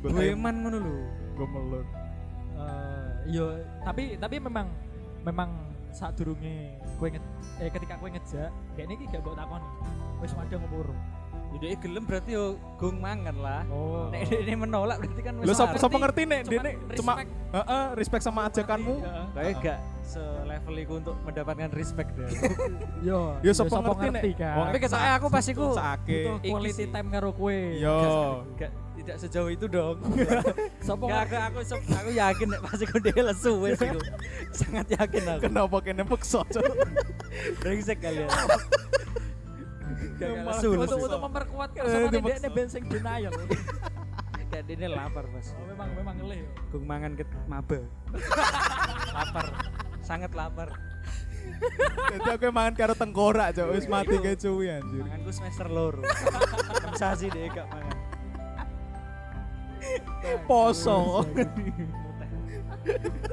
[SPEAKER 2] gue
[SPEAKER 3] Dueman ngono lho.
[SPEAKER 2] gue melur
[SPEAKER 1] Eh, iya, tapi tapi memang memang saat durunge kowe nge, eh ketika kowe ngejak, kayak ini gak mbok takoni. Wis madang umur.
[SPEAKER 3] Ya dhek gelem berarti yo gong mangan lah.
[SPEAKER 1] Oh.
[SPEAKER 3] Nek ini menolak berarti kan
[SPEAKER 2] lo sop sop ngerti nek
[SPEAKER 1] Cuman
[SPEAKER 2] dene cuma
[SPEAKER 1] respect. iya.
[SPEAKER 2] heeh respect sama ajakanmu
[SPEAKER 3] Kayak gak selevel iku untuk mendapatkan respect deh.
[SPEAKER 1] Yo,
[SPEAKER 2] Yo, sapa ngerti, Nek? Wong
[SPEAKER 1] kan.
[SPEAKER 3] Tapi ketoknya aku pas iku
[SPEAKER 2] sake
[SPEAKER 1] Butuh
[SPEAKER 3] iki
[SPEAKER 1] quality
[SPEAKER 3] sih.
[SPEAKER 1] time karo kowe.
[SPEAKER 2] yo
[SPEAKER 3] gak tidak sejauh itu dong.
[SPEAKER 1] Sapa
[SPEAKER 3] Gak aku aku sop- aku yakin nek pas iku dhewe lesu wis iku. Sangat yakin aku.
[SPEAKER 2] kenapa kene peksa cok
[SPEAKER 3] Brengsek kalian. Gak gak lesu.
[SPEAKER 1] untuk
[SPEAKER 3] lesu.
[SPEAKER 1] untuk memperkuat
[SPEAKER 2] Eh,
[SPEAKER 1] kesamaan
[SPEAKER 2] dia
[SPEAKER 1] dia
[SPEAKER 2] maksa.
[SPEAKER 1] ini bensin denial.
[SPEAKER 3] Gak dene lapar pas.
[SPEAKER 1] Oh, memang memang ngelih. yo.
[SPEAKER 3] Gung mangan ket maba. lapar. Sangat lapar.
[SPEAKER 2] jadi aku mangan karo tengkorak cok wis mati kayak cuy anjir
[SPEAKER 3] Manganku semester loro. Sasi deh gak mangan.
[SPEAKER 2] poso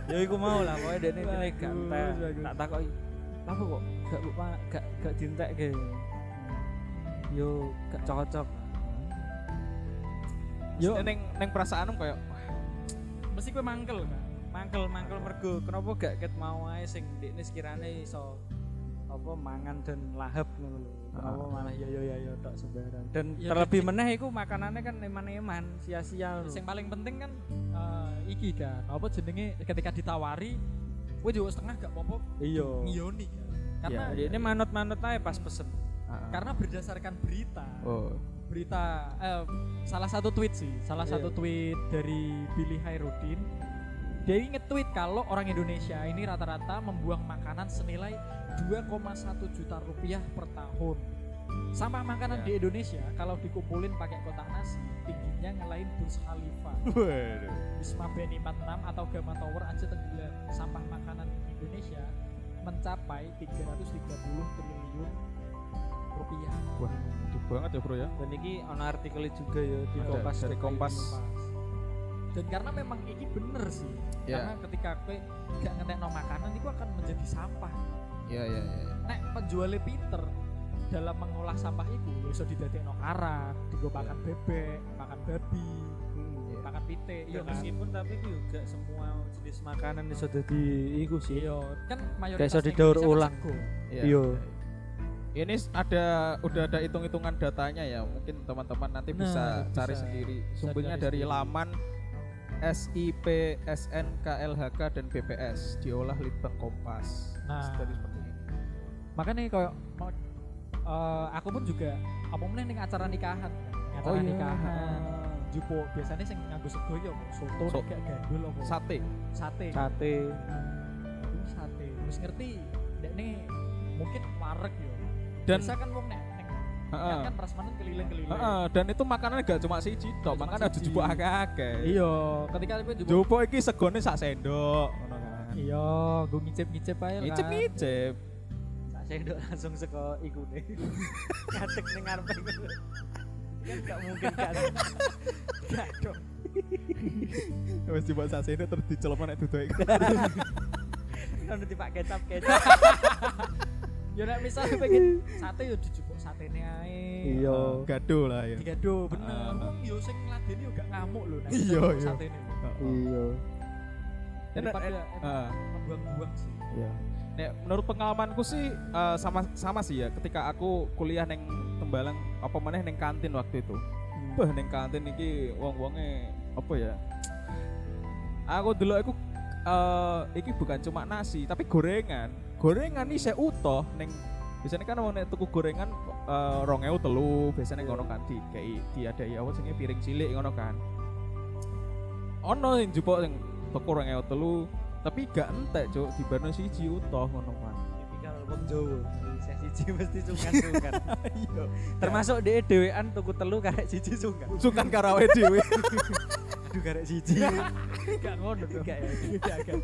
[SPEAKER 3] Ya iku mau lah pokoknya dene dene gak
[SPEAKER 2] Bagus,
[SPEAKER 3] entek.
[SPEAKER 2] bagus.
[SPEAKER 3] Tak takoki. Apa kok gak lupa gak gak dientekke. Yo gak cocok.
[SPEAKER 2] yo neng neng perasaanmu kayak wah,
[SPEAKER 3] Mesti kowe mangkel kan. Mangkel mangkel mergo kenapa gak ket mau ae sing dekne sekirane iso apa mangan dan lahap ngono lho. Kenapa malah ya ya ya ya tok sembarang. Dan
[SPEAKER 1] Ya,
[SPEAKER 3] terlebih meneh iku makanannya kan eman-eman, sia-sia lho.
[SPEAKER 1] Sing paling penting kan eh, iki kan. Apa jenenge ketika ditawari kowe juga setengah gak apa-apa
[SPEAKER 3] Iya.
[SPEAKER 1] ngiyoni kan. Karena
[SPEAKER 2] Iya,
[SPEAKER 3] Ini manut-manut ae pas pesen.
[SPEAKER 1] karena berdasarkan berita,
[SPEAKER 2] oh
[SPEAKER 1] berita eh, salah satu tweet sih, salah
[SPEAKER 3] Iya.
[SPEAKER 1] satu tweet dari Billy Hairudin. Dia ini nge-tweet kalau orang Indonesia ini rata-rata membuang makanan senilai 2,1 juta rupiah per tahun. Sampah makanan
[SPEAKER 2] Iya.
[SPEAKER 1] di Indonesia kalau dikumpulin pakai kotak nasi, tingginya ngelain Burj Khalifa,
[SPEAKER 2] waduh
[SPEAKER 1] Wisma Beni 46 atau Gamma Tower aja tenggelam. Sampah makanan Indonesia mencapai 330 triliun rupiah.
[SPEAKER 2] wah gede banget ya bro ya
[SPEAKER 3] Dan ini ono artikel juga ya di
[SPEAKER 2] Ada,
[SPEAKER 3] Kompas.
[SPEAKER 2] dari Kompas.
[SPEAKER 1] dan karena memang ini bener sih
[SPEAKER 2] Iya.
[SPEAKER 3] Ya.
[SPEAKER 1] karena ketika kowe gak ngetekno makanan itu akan menjadi sampah
[SPEAKER 2] iya iya iya
[SPEAKER 1] nek penjualnya pinter dalam mengolah sampah itu ya iso didadekno karat digo makan bebek makan babi makan pitik
[SPEAKER 3] Ya. Hmm, Ya
[SPEAKER 1] iya kan
[SPEAKER 3] meskipun tapi itu juga semua jenis makanan iso dadi iku sih.
[SPEAKER 1] iya kan mayoritas
[SPEAKER 3] iso
[SPEAKER 1] ning
[SPEAKER 3] didaur
[SPEAKER 1] Indonesia kan
[SPEAKER 3] ulang.
[SPEAKER 1] sego.
[SPEAKER 2] Iya.
[SPEAKER 3] Iya.
[SPEAKER 2] Ini s- ada udah ada hitung-hitungan datanya ya. Mungkin teman-teman nanti
[SPEAKER 1] Nah,
[SPEAKER 2] bisa
[SPEAKER 1] bisa.
[SPEAKER 2] cari sendiri.
[SPEAKER 1] Bisa
[SPEAKER 2] Sumbernya
[SPEAKER 1] cari
[SPEAKER 2] dari
[SPEAKER 1] sendiri.
[SPEAKER 2] laman SIP, SNK, LHK dan BPS diolah Litbang Kompas.
[SPEAKER 1] Nah.
[SPEAKER 2] Jadi seperti ini.
[SPEAKER 1] makanya kayak mau- eh, aku pun juga apa meneh ning acara nikahan kan. Ning
[SPEAKER 2] Oh,
[SPEAKER 1] acara
[SPEAKER 3] Oh,
[SPEAKER 2] iya.
[SPEAKER 3] iya.
[SPEAKER 1] nikahan jupo biasanya sing nganggo sego ya apa? soto
[SPEAKER 2] So-
[SPEAKER 1] nek gak gandul apa
[SPEAKER 2] Sate.
[SPEAKER 1] sate
[SPEAKER 3] Sate.
[SPEAKER 1] Ini sate wis ngerti dek nih mungkin wareg yo
[SPEAKER 2] Dan Ah.
[SPEAKER 1] biasa kan wong nek nek
[SPEAKER 2] Heeh.
[SPEAKER 1] kan prasmanan keliling-keliling
[SPEAKER 2] Heeh, dan itu makanannya gak cuma siji tok,
[SPEAKER 1] Gak cuma
[SPEAKER 2] makanya ada
[SPEAKER 1] siji.
[SPEAKER 2] jupuk akeh-akeh.
[SPEAKER 1] iya ketika aku juga
[SPEAKER 2] Jupuk iki segone sak sendok ngono kan.
[SPEAKER 1] iya gue ngicip-ngicip aja kan
[SPEAKER 2] Ngicip-ngicip.
[SPEAKER 3] Sak sendok langsung saka ikune. Ngadeg ning ngarepe. iku. Kan gak mungkin kan. Gak dong.
[SPEAKER 2] Wis jupuk sak sendok terus dicelomo nek duduk
[SPEAKER 3] Kan udah dipak kecap kecap.
[SPEAKER 1] ya nek misalnya pengen sate yo dijupuk satene ae
[SPEAKER 3] Iya.
[SPEAKER 2] Gaduh lah ya.
[SPEAKER 1] digado bener
[SPEAKER 2] Ah.
[SPEAKER 1] wong yo sing ngladeni yo gak ngamuk lho nek
[SPEAKER 2] Iya,
[SPEAKER 1] dijupuk
[SPEAKER 2] iya.
[SPEAKER 1] satene lho.
[SPEAKER 2] Heeh. eh,
[SPEAKER 4] Iya.
[SPEAKER 2] Enak,
[SPEAKER 1] daripada
[SPEAKER 2] Heeh.
[SPEAKER 1] buang-buang sih
[SPEAKER 4] Iya.
[SPEAKER 2] Nek, menurut pengalamanku sih eh, sama sama sih ya ketika aku kuliah neng Tembalang apa maneh neng kantin waktu itu. Wah neng kantin iki wong-wonge apa ya? Aku dulu aku eh iki bukan cuma nasi tapi gorengan. Gorengan nih saya utuh neng biasanya kan mau tuku gorengan eh, rong ewu telu biasanya ngono kan di kayak diadai apa sih piring cilik ngono kan ono yang jupuk yang tuku rong ewu telu tapi gak entek cuk di barno siji utuh ngono kan
[SPEAKER 3] Tipikal wong Jawa, sesi siji mesti sungkan-sungkan.
[SPEAKER 2] iya
[SPEAKER 3] Termasuk dhek dhewean tuku telu karek siji sungkan. Iya.
[SPEAKER 2] sungkan karawe dhewe
[SPEAKER 3] Aduh karek siji.
[SPEAKER 1] Gak ngono dong.
[SPEAKER 3] Enggak ya.
[SPEAKER 1] Gak, gak.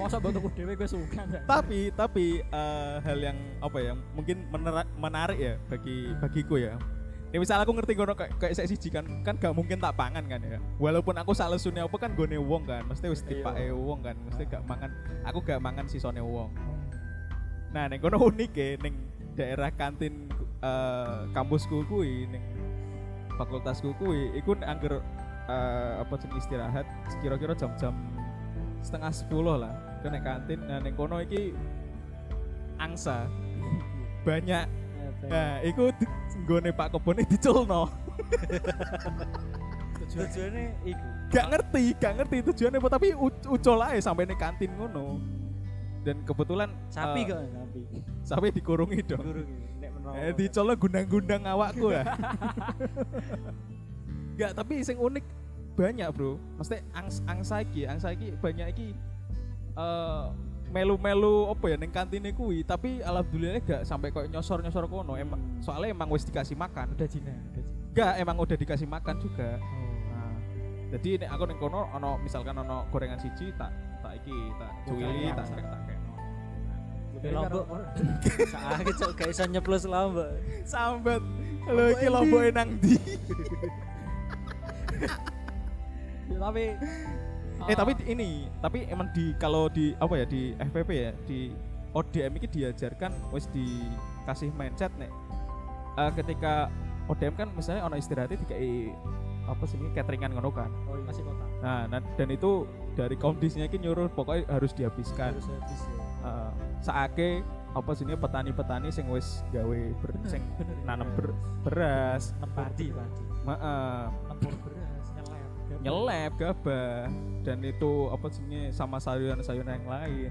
[SPEAKER 1] Masa buat aku dewe gue suka Cak.
[SPEAKER 2] tapi tapi eh, hal yang apa ya mungkin menera- menarik ya bagi bagiku ya ya misalnya aku ngerti ngono kayak kayak saya siji kan kan gak mungkin tak pangan kan ya walaupun aku salah apa kan gone wong kan mesti wis tipake wong kan mesti gak mangan aku gak mangan sisone wong nah neng kono unik ya neng daerah kantin eh, kampusku kui neng fakultasku kui iku angger eh, apa sih istirahat kira-kira jam-jam setengah sepuluh lah ke neng kantin nah neng kono iki angsa banyak nah iku di- nggone pak kebone diculno
[SPEAKER 3] Tujuane iku.
[SPEAKER 2] gak ngerti gak ngerti tujuannya apa tapi u- ucol aja sampai neng kantin ngono dan kebetulan eh,
[SPEAKER 3] Sapi kok sapi.
[SPEAKER 2] sapi dikurungi dong
[SPEAKER 3] Guru iki nek menawa.
[SPEAKER 2] Eh, dicolok gundang-gundang awakku lah. Enggak, tapi sing unik banyak, Bro. Mesti angs angsa iki, angsa iki banyak iki eh, melu-melu apa ya ning kantine kuwi, tapi alhamdulillah gak sampai koyo nyosor-nyosor kono. Emang soalnya emang wis dikasih makan.
[SPEAKER 1] Udah Cina, udah Cina.
[SPEAKER 2] Enggak, emang udah dikasih makan juga.
[SPEAKER 1] Oh,
[SPEAKER 2] Nah, jadi nek aku ning kono ono misalkan ono gorengan siji tak tak iki, tak cuili, tak tak tak keno.
[SPEAKER 3] Di lombok. Saiki cok gak iso nyeplos lombok.
[SPEAKER 2] Sambat. Lho iki lomboke nang ndi?
[SPEAKER 1] Ya, tapi Ah.
[SPEAKER 2] Eh tapi di- ini, tapi emang di kalau di apa ya di FPP ya di ODM ini diajarkan wes dikasih mindset nek eh, ketika ODM kan misalnya ono istirahatnya tiga apa sih ini cateringan ngono kan.
[SPEAKER 1] oh, masih kota.
[SPEAKER 2] Nah, nah, dan itu dari komdisnya ini nyuruh pokoknya harus dihabiskan.
[SPEAKER 1] Harus habis ya.
[SPEAKER 2] Eh, saake apa sih ini petani-petani sing wes gawe ber,
[SPEAKER 1] Hmm.
[SPEAKER 2] sing nanam ber- beras,
[SPEAKER 1] Padi, padi.
[SPEAKER 2] heeh.
[SPEAKER 1] Tempur beras, nyeler.
[SPEAKER 2] nyelep gabah dan itu apa jenenge sama sayuran-sayuran yang lain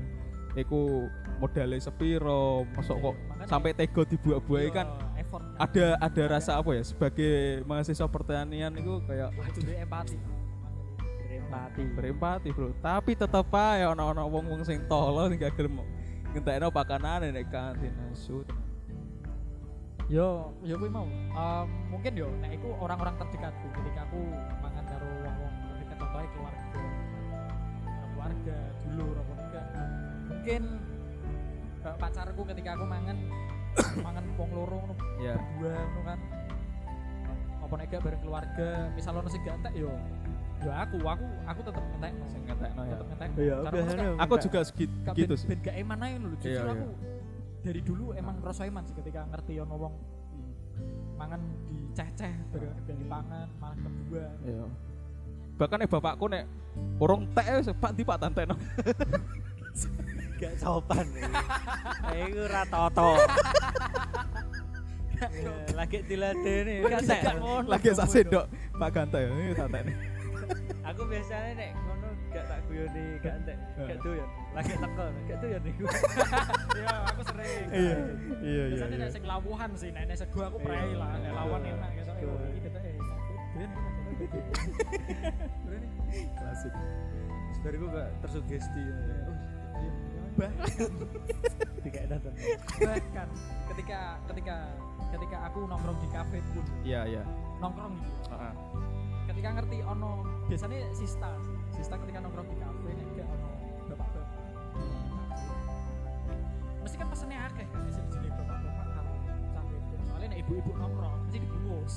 [SPEAKER 2] iku modalnya sepiro masuk kok
[SPEAKER 1] Makanya-
[SPEAKER 2] sampai tego dibuat-buat kan
[SPEAKER 1] Iya, effort.
[SPEAKER 2] ada ada rasa apa ya sebagai mahasiswa pertanian itu kayak
[SPEAKER 1] Wah, itu dia empati.
[SPEAKER 3] Berempati.
[SPEAKER 2] berempati bro tapi tetep aja ono-ono wong-wong sing tolol sing gak gelem ngentekno pakanane nek kantin shoot
[SPEAKER 1] Yo, yo gue mau. Em, mungkin yo, nah itu orang-orang terdekatku. Ketika aku mangan karo wong-wong terdekat contohnya keluarga, Karo keluarga, dulu, apa enggak. Mungkin eh, pacarku ketika aku mangan, mangan wong loro ngono,
[SPEAKER 2] ya
[SPEAKER 1] dua ngono kan. Apa nek gak bareng keluarga, misal ono sing gak entek yo, yo aku, aku, aku tetep entek.
[SPEAKER 2] sing ngentekno ya
[SPEAKER 1] Tetep entek.
[SPEAKER 4] Iya,
[SPEAKER 1] Cara
[SPEAKER 4] biasanya
[SPEAKER 1] maksudnya-
[SPEAKER 2] aku juga segi-
[SPEAKER 1] Kak,
[SPEAKER 2] gitu
[SPEAKER 1] ben,
[SPEAKER 2] sih
[SPEAKER 1] ben gak eman aja lho jujur
[SPEAKER 2] Iya, iya. Ah.
[SPEAKER 1] aku dari dulu emang ngerasa eman sih ketika ngerti ono wong mangan diceceh bareng dari pangan malah kedua
[SPEAKER 2] Ah. Iya. bahkan eh bapakku nek urung tek eh, pak di pak tante
[SPEAKER 3] Gak sopan. Eh iku ra toto. Iya, Lagi diladeni kan Tek.
[SPEAKER 2] lagi sak sendok Pak Ganta ya ini santai nih
[SPEAKER 3] Aku biasanya nek ngono gak tak guyoni, gak entek,
[SPEAKER 2] Eh.
[SPEAKER 3] gak doyan. Lagi teko, gak doyan iku.
[SPEAKER 1] iya aku sering
[SPEAKER 2] iya
[SPEAKER 3] Eh,
[SPEAKER 2] iya iya
[SPEAKER 1] biasanya nek sing lawuhan sih nek nek sego aku prei lah nek lawan enak ya soalnya
[SPEAKER 3] Iya.
[SPEAKER 1] oh, iki tetep eh aku ben iya."
[SPEAKER 2] klasik
[SPEAKER 3] Sebar iku gitu. gak tersugesti. Tidak ada
[SPEAKER 1] bahkan ketika ketika ketika aku nongkrong di kafe pun
[SPEAKER 2] iya iya
[SPEAKER 1] nongkrong gitu ya.
[SPEAKER 2] Heeh.
[SPEAKER 1] ketika ngerti ono biasanya sista sih. sista ketika nongkrong di kafe nek gak ono bapak-bapak mesti kan pesennya akeh kan sing jenenge bapak-bapak karo cawe itu soalnya nek ibu-ibu nongkrong mesti dibungkus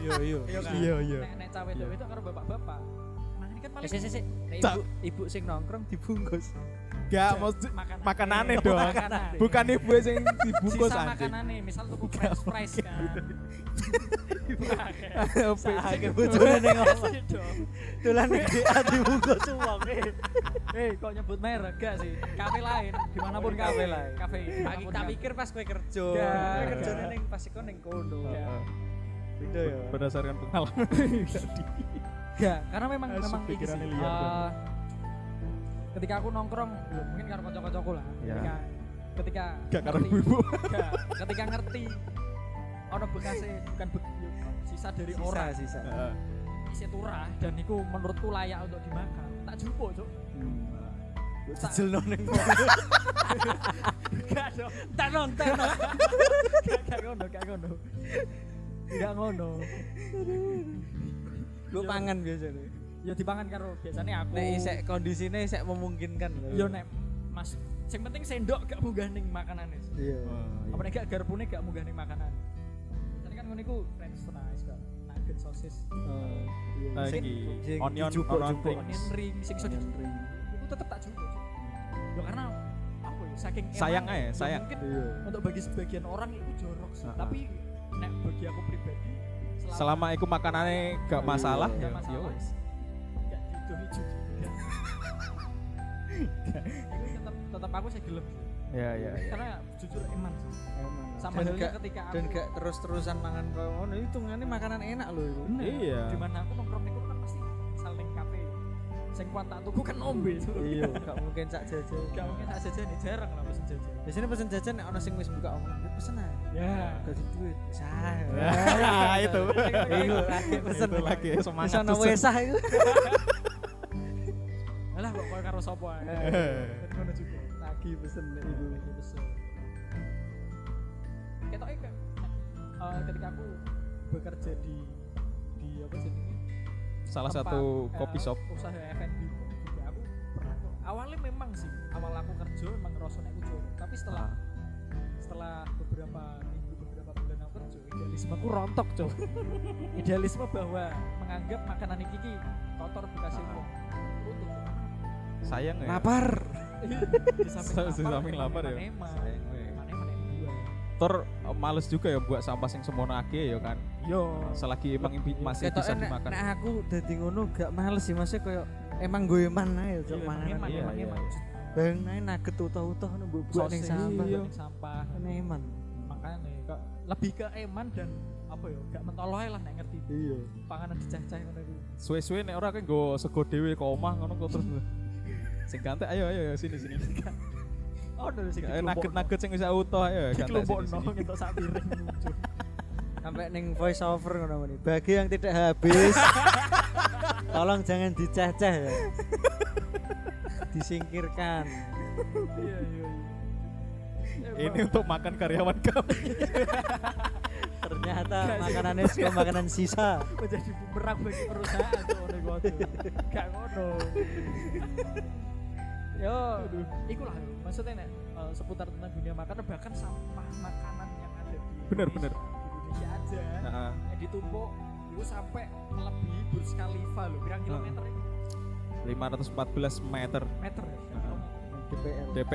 [SPEAKER 3] Iya, iya.
[SPEAKER 1] iya kan
[SPEAKER 2] iya iya
[SPEAKER 1] nek nek cawe itu itu karo bapak-bapak makan kan paling
[SPEAKER 3] Eh, sik, sik, sik. Nek
[SPEAKER 2] Cak.
[SPEAKER 3] Ibu, ibu sing nongkrong dibungkus.
[SPEAKER 1] Iya.
[SPEAKER 2] gak mau makanannya dong
[SPEAKER 1] Makanannya.
[SPEAKER 2] bukan ibu yang dibungkus
[SPEAKER 1] sisa
[SPEAKER 2] anjing
[SPEAKER 1] makanannya misal tuku french fries kan
[SPEAKER 3] Saiki bojone Iya. ning omah.
[SPEAKER 1] dong
[SPEAKER 3] Dolan ning DA dibungkus wong.
[SPEAKER 1] Eh, kok nyebut merek gak sih? Kafe lain, dimanapun kafe lain. Kafe. Iya.
[SPEAKER 3] Aku tak pikir pas kowe kerja.
[SPEAKER 1] Gak,
[SPEAKER 3] Kowe
[SPEAKER 1] gak.
[SPEAKER 3] kerjane ning pas iku ning kono.
[SPEAKER 2] Heeh.
[SPEAKER 3] Beda ya.
[SPEAKER 2] berdasarkan pengalaman
[SPEAKER 1] Gak, karena memang
[SPEAKER 2] Asik,
[SPEAKER 1] memang iki
[SPEAKER 2] pikirannya
[SPEAKER 1] sih,
[SPEAKER 2] liar,
[SPEAKER 1] eh, ketika aku nongkrong, ya mungkin karo kanca-kancaku lah.
[SPEAKER 2] Ya.
[SPEAKER 1] Ketika ketika
[SPEAKER 2] Gak karo
[SPEAKER 1] ngerti-
[SPEAKER 2] ibu-ibu.
[SPEAKER 1] Gak, ketika ngerti ono bekasnya bukan bek, sisa dari
[SPEAKER 4] Sisa,
[SPEAKER 1] orang
[SPEAKER 4] sisa.
[SPEAKER 2] Heeh.
[SPEAKER 1] isi turah dan itu menurutku layak untuk dimakan tak jumpo cok
[SPEAKER 2] Jejelno ning
[SPEAKER 1] gak dong tak nonton gak gak ngono gak ngono gak ngono
[SPEAKER 4] Lu pangan biasanya.
[SPEAKER 1] ya dipangan karo biasanya aku
[SPEAKER 3] Iya. Nek isek kondisine isek memungkinkan.
[SPEAKER 1] ya nek mas yang penting sendok gak munggah ning makanane
[SPEAKER 4] Iya.
[SPEAKER 1] apa nek gak garpune gak munggah ning makanan tadi kan ngono iku french fries kok nugget sosis
[SPEAKER 4] Oh, iya.
[SPEAKER 2] Nah,
[SPEAKER 4] Sing-
[SPEAKER 2] iki
[SPEAKER 4] sing
[SPEAKER 2] onion
[SPEAKER 4] dijupuk-
[SPEAKER 2] onion
[SPEAKER 4] jupuk.
[SPEAKER 2] rings.
[SPEAKER 1] onion ring sing iso
[SPEAKER 4] Onion
[SPEAKER 1] di-
[SPEAKER 4] ring.
[SPEAKER 1] itu tetep tak juga ya karena apa ya saking
[SPEAKER 2] Sayang
[SPEAKER 1] emang,
[SPEAKER 2] aja, sayang.
[SPEAKER 1] mungkin
[SPEAKER 4] Iya.
[SPEAKER 1] untuk bagi sebagian orang itu jorok sih
[SPEAKER 2] Ah, ah.
[SPEAKER 1] tapi nek bagi aku pribadi
[SPEAKER 2] Selama iku makanannya gak masalah
[SPEAKER 1] Iya, gak
[SPEAKER 2] ya. ya
[SPEAKER 1] masalah
[SPEAKER 2] wis.
[SPEAKER 1] gak didohi juga Iku tetep tetep aku saya gelem sih.
[SPEAKER 2] Ya ya. ya.
[SPEAKER 1] karena jujur eman sih
[SPEAKER 4] Emang.
[SPEAKER 1] sama
[SPEAKER 3] Dan
[SPEAKER 1] halnya
[SPEAKER 3] gak-
[SPEAKER 1] ketika aku
[SPEAKER 3] Dan gak terus-terusan mangan koyo ngono hitungannya makanan enak loh itu.
[SPEAKER 1] Bener.
[SPEAKER 2] Iya.
[SPEAKER 1] dimana aku nongkrong itu kan pasti sal ning kafe sing kuat tak tuku kan ombe
[SPEAKER 4] Iya.
[SPEAKER 3] Gak mungkin sak jajan.
[SPEAKER 1] gak mungkin tak jajan nih, jarang lah pesen jajan
[SPEAKER 3] Biasanya pesen jajan nek ono sing wis buka omong, "Ya pesen ae.
[SPEAKER 1] ya
[SPEAKER 3] Dadi duit. Sah.
[SPEAKER 2] Nah, itu.
[SPEAKER 3] Iku lagi pesen.
[SPEAKER 2] Itu lagi semangat.
[SPEAKER 3] Bisa ono
[SPEAKER 2] pesen.
[SPEAKER 3] wesah iku.
[SPEAKER 1] Alah kok koyo karo sapa ae. Dan ngono juga.
[SPEAKER 4] Lagi pesen nek
[SPEAKER 1] Iku
[SPEAKER 4] iku.
[SPEAKER 1] iki besok. Ketoke ke- eh, ketika aku bekerja di di apa jenenge?
[SPEAKER 2] Salah
[SPEAKER 1] tempat,
[SPEAKER 2] satu
[SPEAKER 1] eh,
[SPEAKER 2] kopi shop.
[SPEAKER 1] Usaha F&B kok juga aku pernah kok. Awalnya memang sih, awal aku kerja memang ngerasa nek ujo. Tapi
[SPEAKER 2] Ah.
[SPEAKER 1] setelah setelah beberapa minggu beberapa bulan aku kerja idealisme aku rontok cok idealisme bahwa menganggap makanan ini ki kotor bekas
[SPEAKER 2] Ah.
[SPEAKER 1] wong Utuh.
[SPEAKER 2] Sayang ya.
[SPEAKER 3] Lapar.
[SPEAKER 1] di samping
[SPEAKER 2] Di samping lapar ya.
[SPEAKER 1] eman-eman.
[SPEAKER 2] Sayang, weh.
[SPEAKER 1] Eman-eman yang dua.
[SPEAKER 2] Tur eh, males juga ya buat sampah sing semono akeh ya kan.
[SPEAKER 1] Yo.
[SPEAKER 2] Selagi emang bi- masih
[SPEAKER 3] Ketoke
[SPEAKER 2] bisa
[SPEAKER 3] nek
[SPEAKER 2] dimakan.
[SPEAKER 3] nek aku dadi ngono gak males sih maksudnya koyo emang gue eman ae cok
[SPEAKER 1] Emang
[SPEAKER 3] mangan.
[SPEAKER 1] eman,
[SPEAKER 2] iya,
[SPEAKER 1] emang
[SPEAKER 2] iya,
[SPEAKER 1] eman.
[SPEAKER 2] iya.
[SPEAKER 3] Bang ae naget utuh-utuh ngono mbok buat ning
[SPEAKER 1] ya, Sosis,
[SPEAKER 3] sampah.
[SPEAKER 1] iya, ning sampah.
[SPEAKER 3] Enak eman.
[SPEAKER 1] Makanya kok lebih ke eman dan apa ya gak mentolo ae lah nek ngerti
[SPEAKER 4] Iya.
[SPEAKER 1] panganan dicah-cah ngono iku.
[SPEAKER 2] Suwe-suwe nek ora kan nggo sego dhewe ke omah ngono kok terus. Sing gantek ayo ayo ayo, sini sini.
[SPEAKER 1] Oh, no, sing dikelompokno.
[SPEAKER 2] Ayo, Nugget-nugget sing bisa utuh ayo gantek sini
[SPEAKER 1] Dikelompokno
[SPEAKER 2] sini. Iya,
[SPEAKER 1] ngentuk sak piring muncul.
[SPEAKER 3] sampai neng voice over ngono muni. Bagi yang tidak habis, tolong jangan dicacah ya. Disingkirkan.
[SPEAKER 1] Iya, iya, iya. Eh,
[SPEAKER 2] Ini
[SPEAKER 1] Bang,
[SPEAKER 2] untuk makan karyawan kami.
[SPEAKER 3] Ternyata makanannya cuma makanan sisa.
[SPEAKER 1] menjadi bumerang bagi perusahaan tuh ono iku aja. Gak ngono. Yo, iku lah yo. maksudnya nek eh, seputar tentang dunia makanan bahkan sampah makanan yang ada di
[SPEAKER 2] Bener,
[SPEAKER 1] Indonesia,
[SPEAKER 2] bener.
[SPEAKER 1] di Indonesia aja.
[SPEAKER 2] Heeh.
[SPEAKER 1] Nah. ditumpuk itu sampai melebihi Burj Khalifa loh,
[SPEAKER 2] Nah.
[SPEAKER 1] pirang kilometer itu?
[SPEAKER 2] 514 meter
[SPEAKER 1] meter ya.
[SPEAKER 2] Nah.
[SPEAKER 4] DPL.
[SPEAKER 2] DP.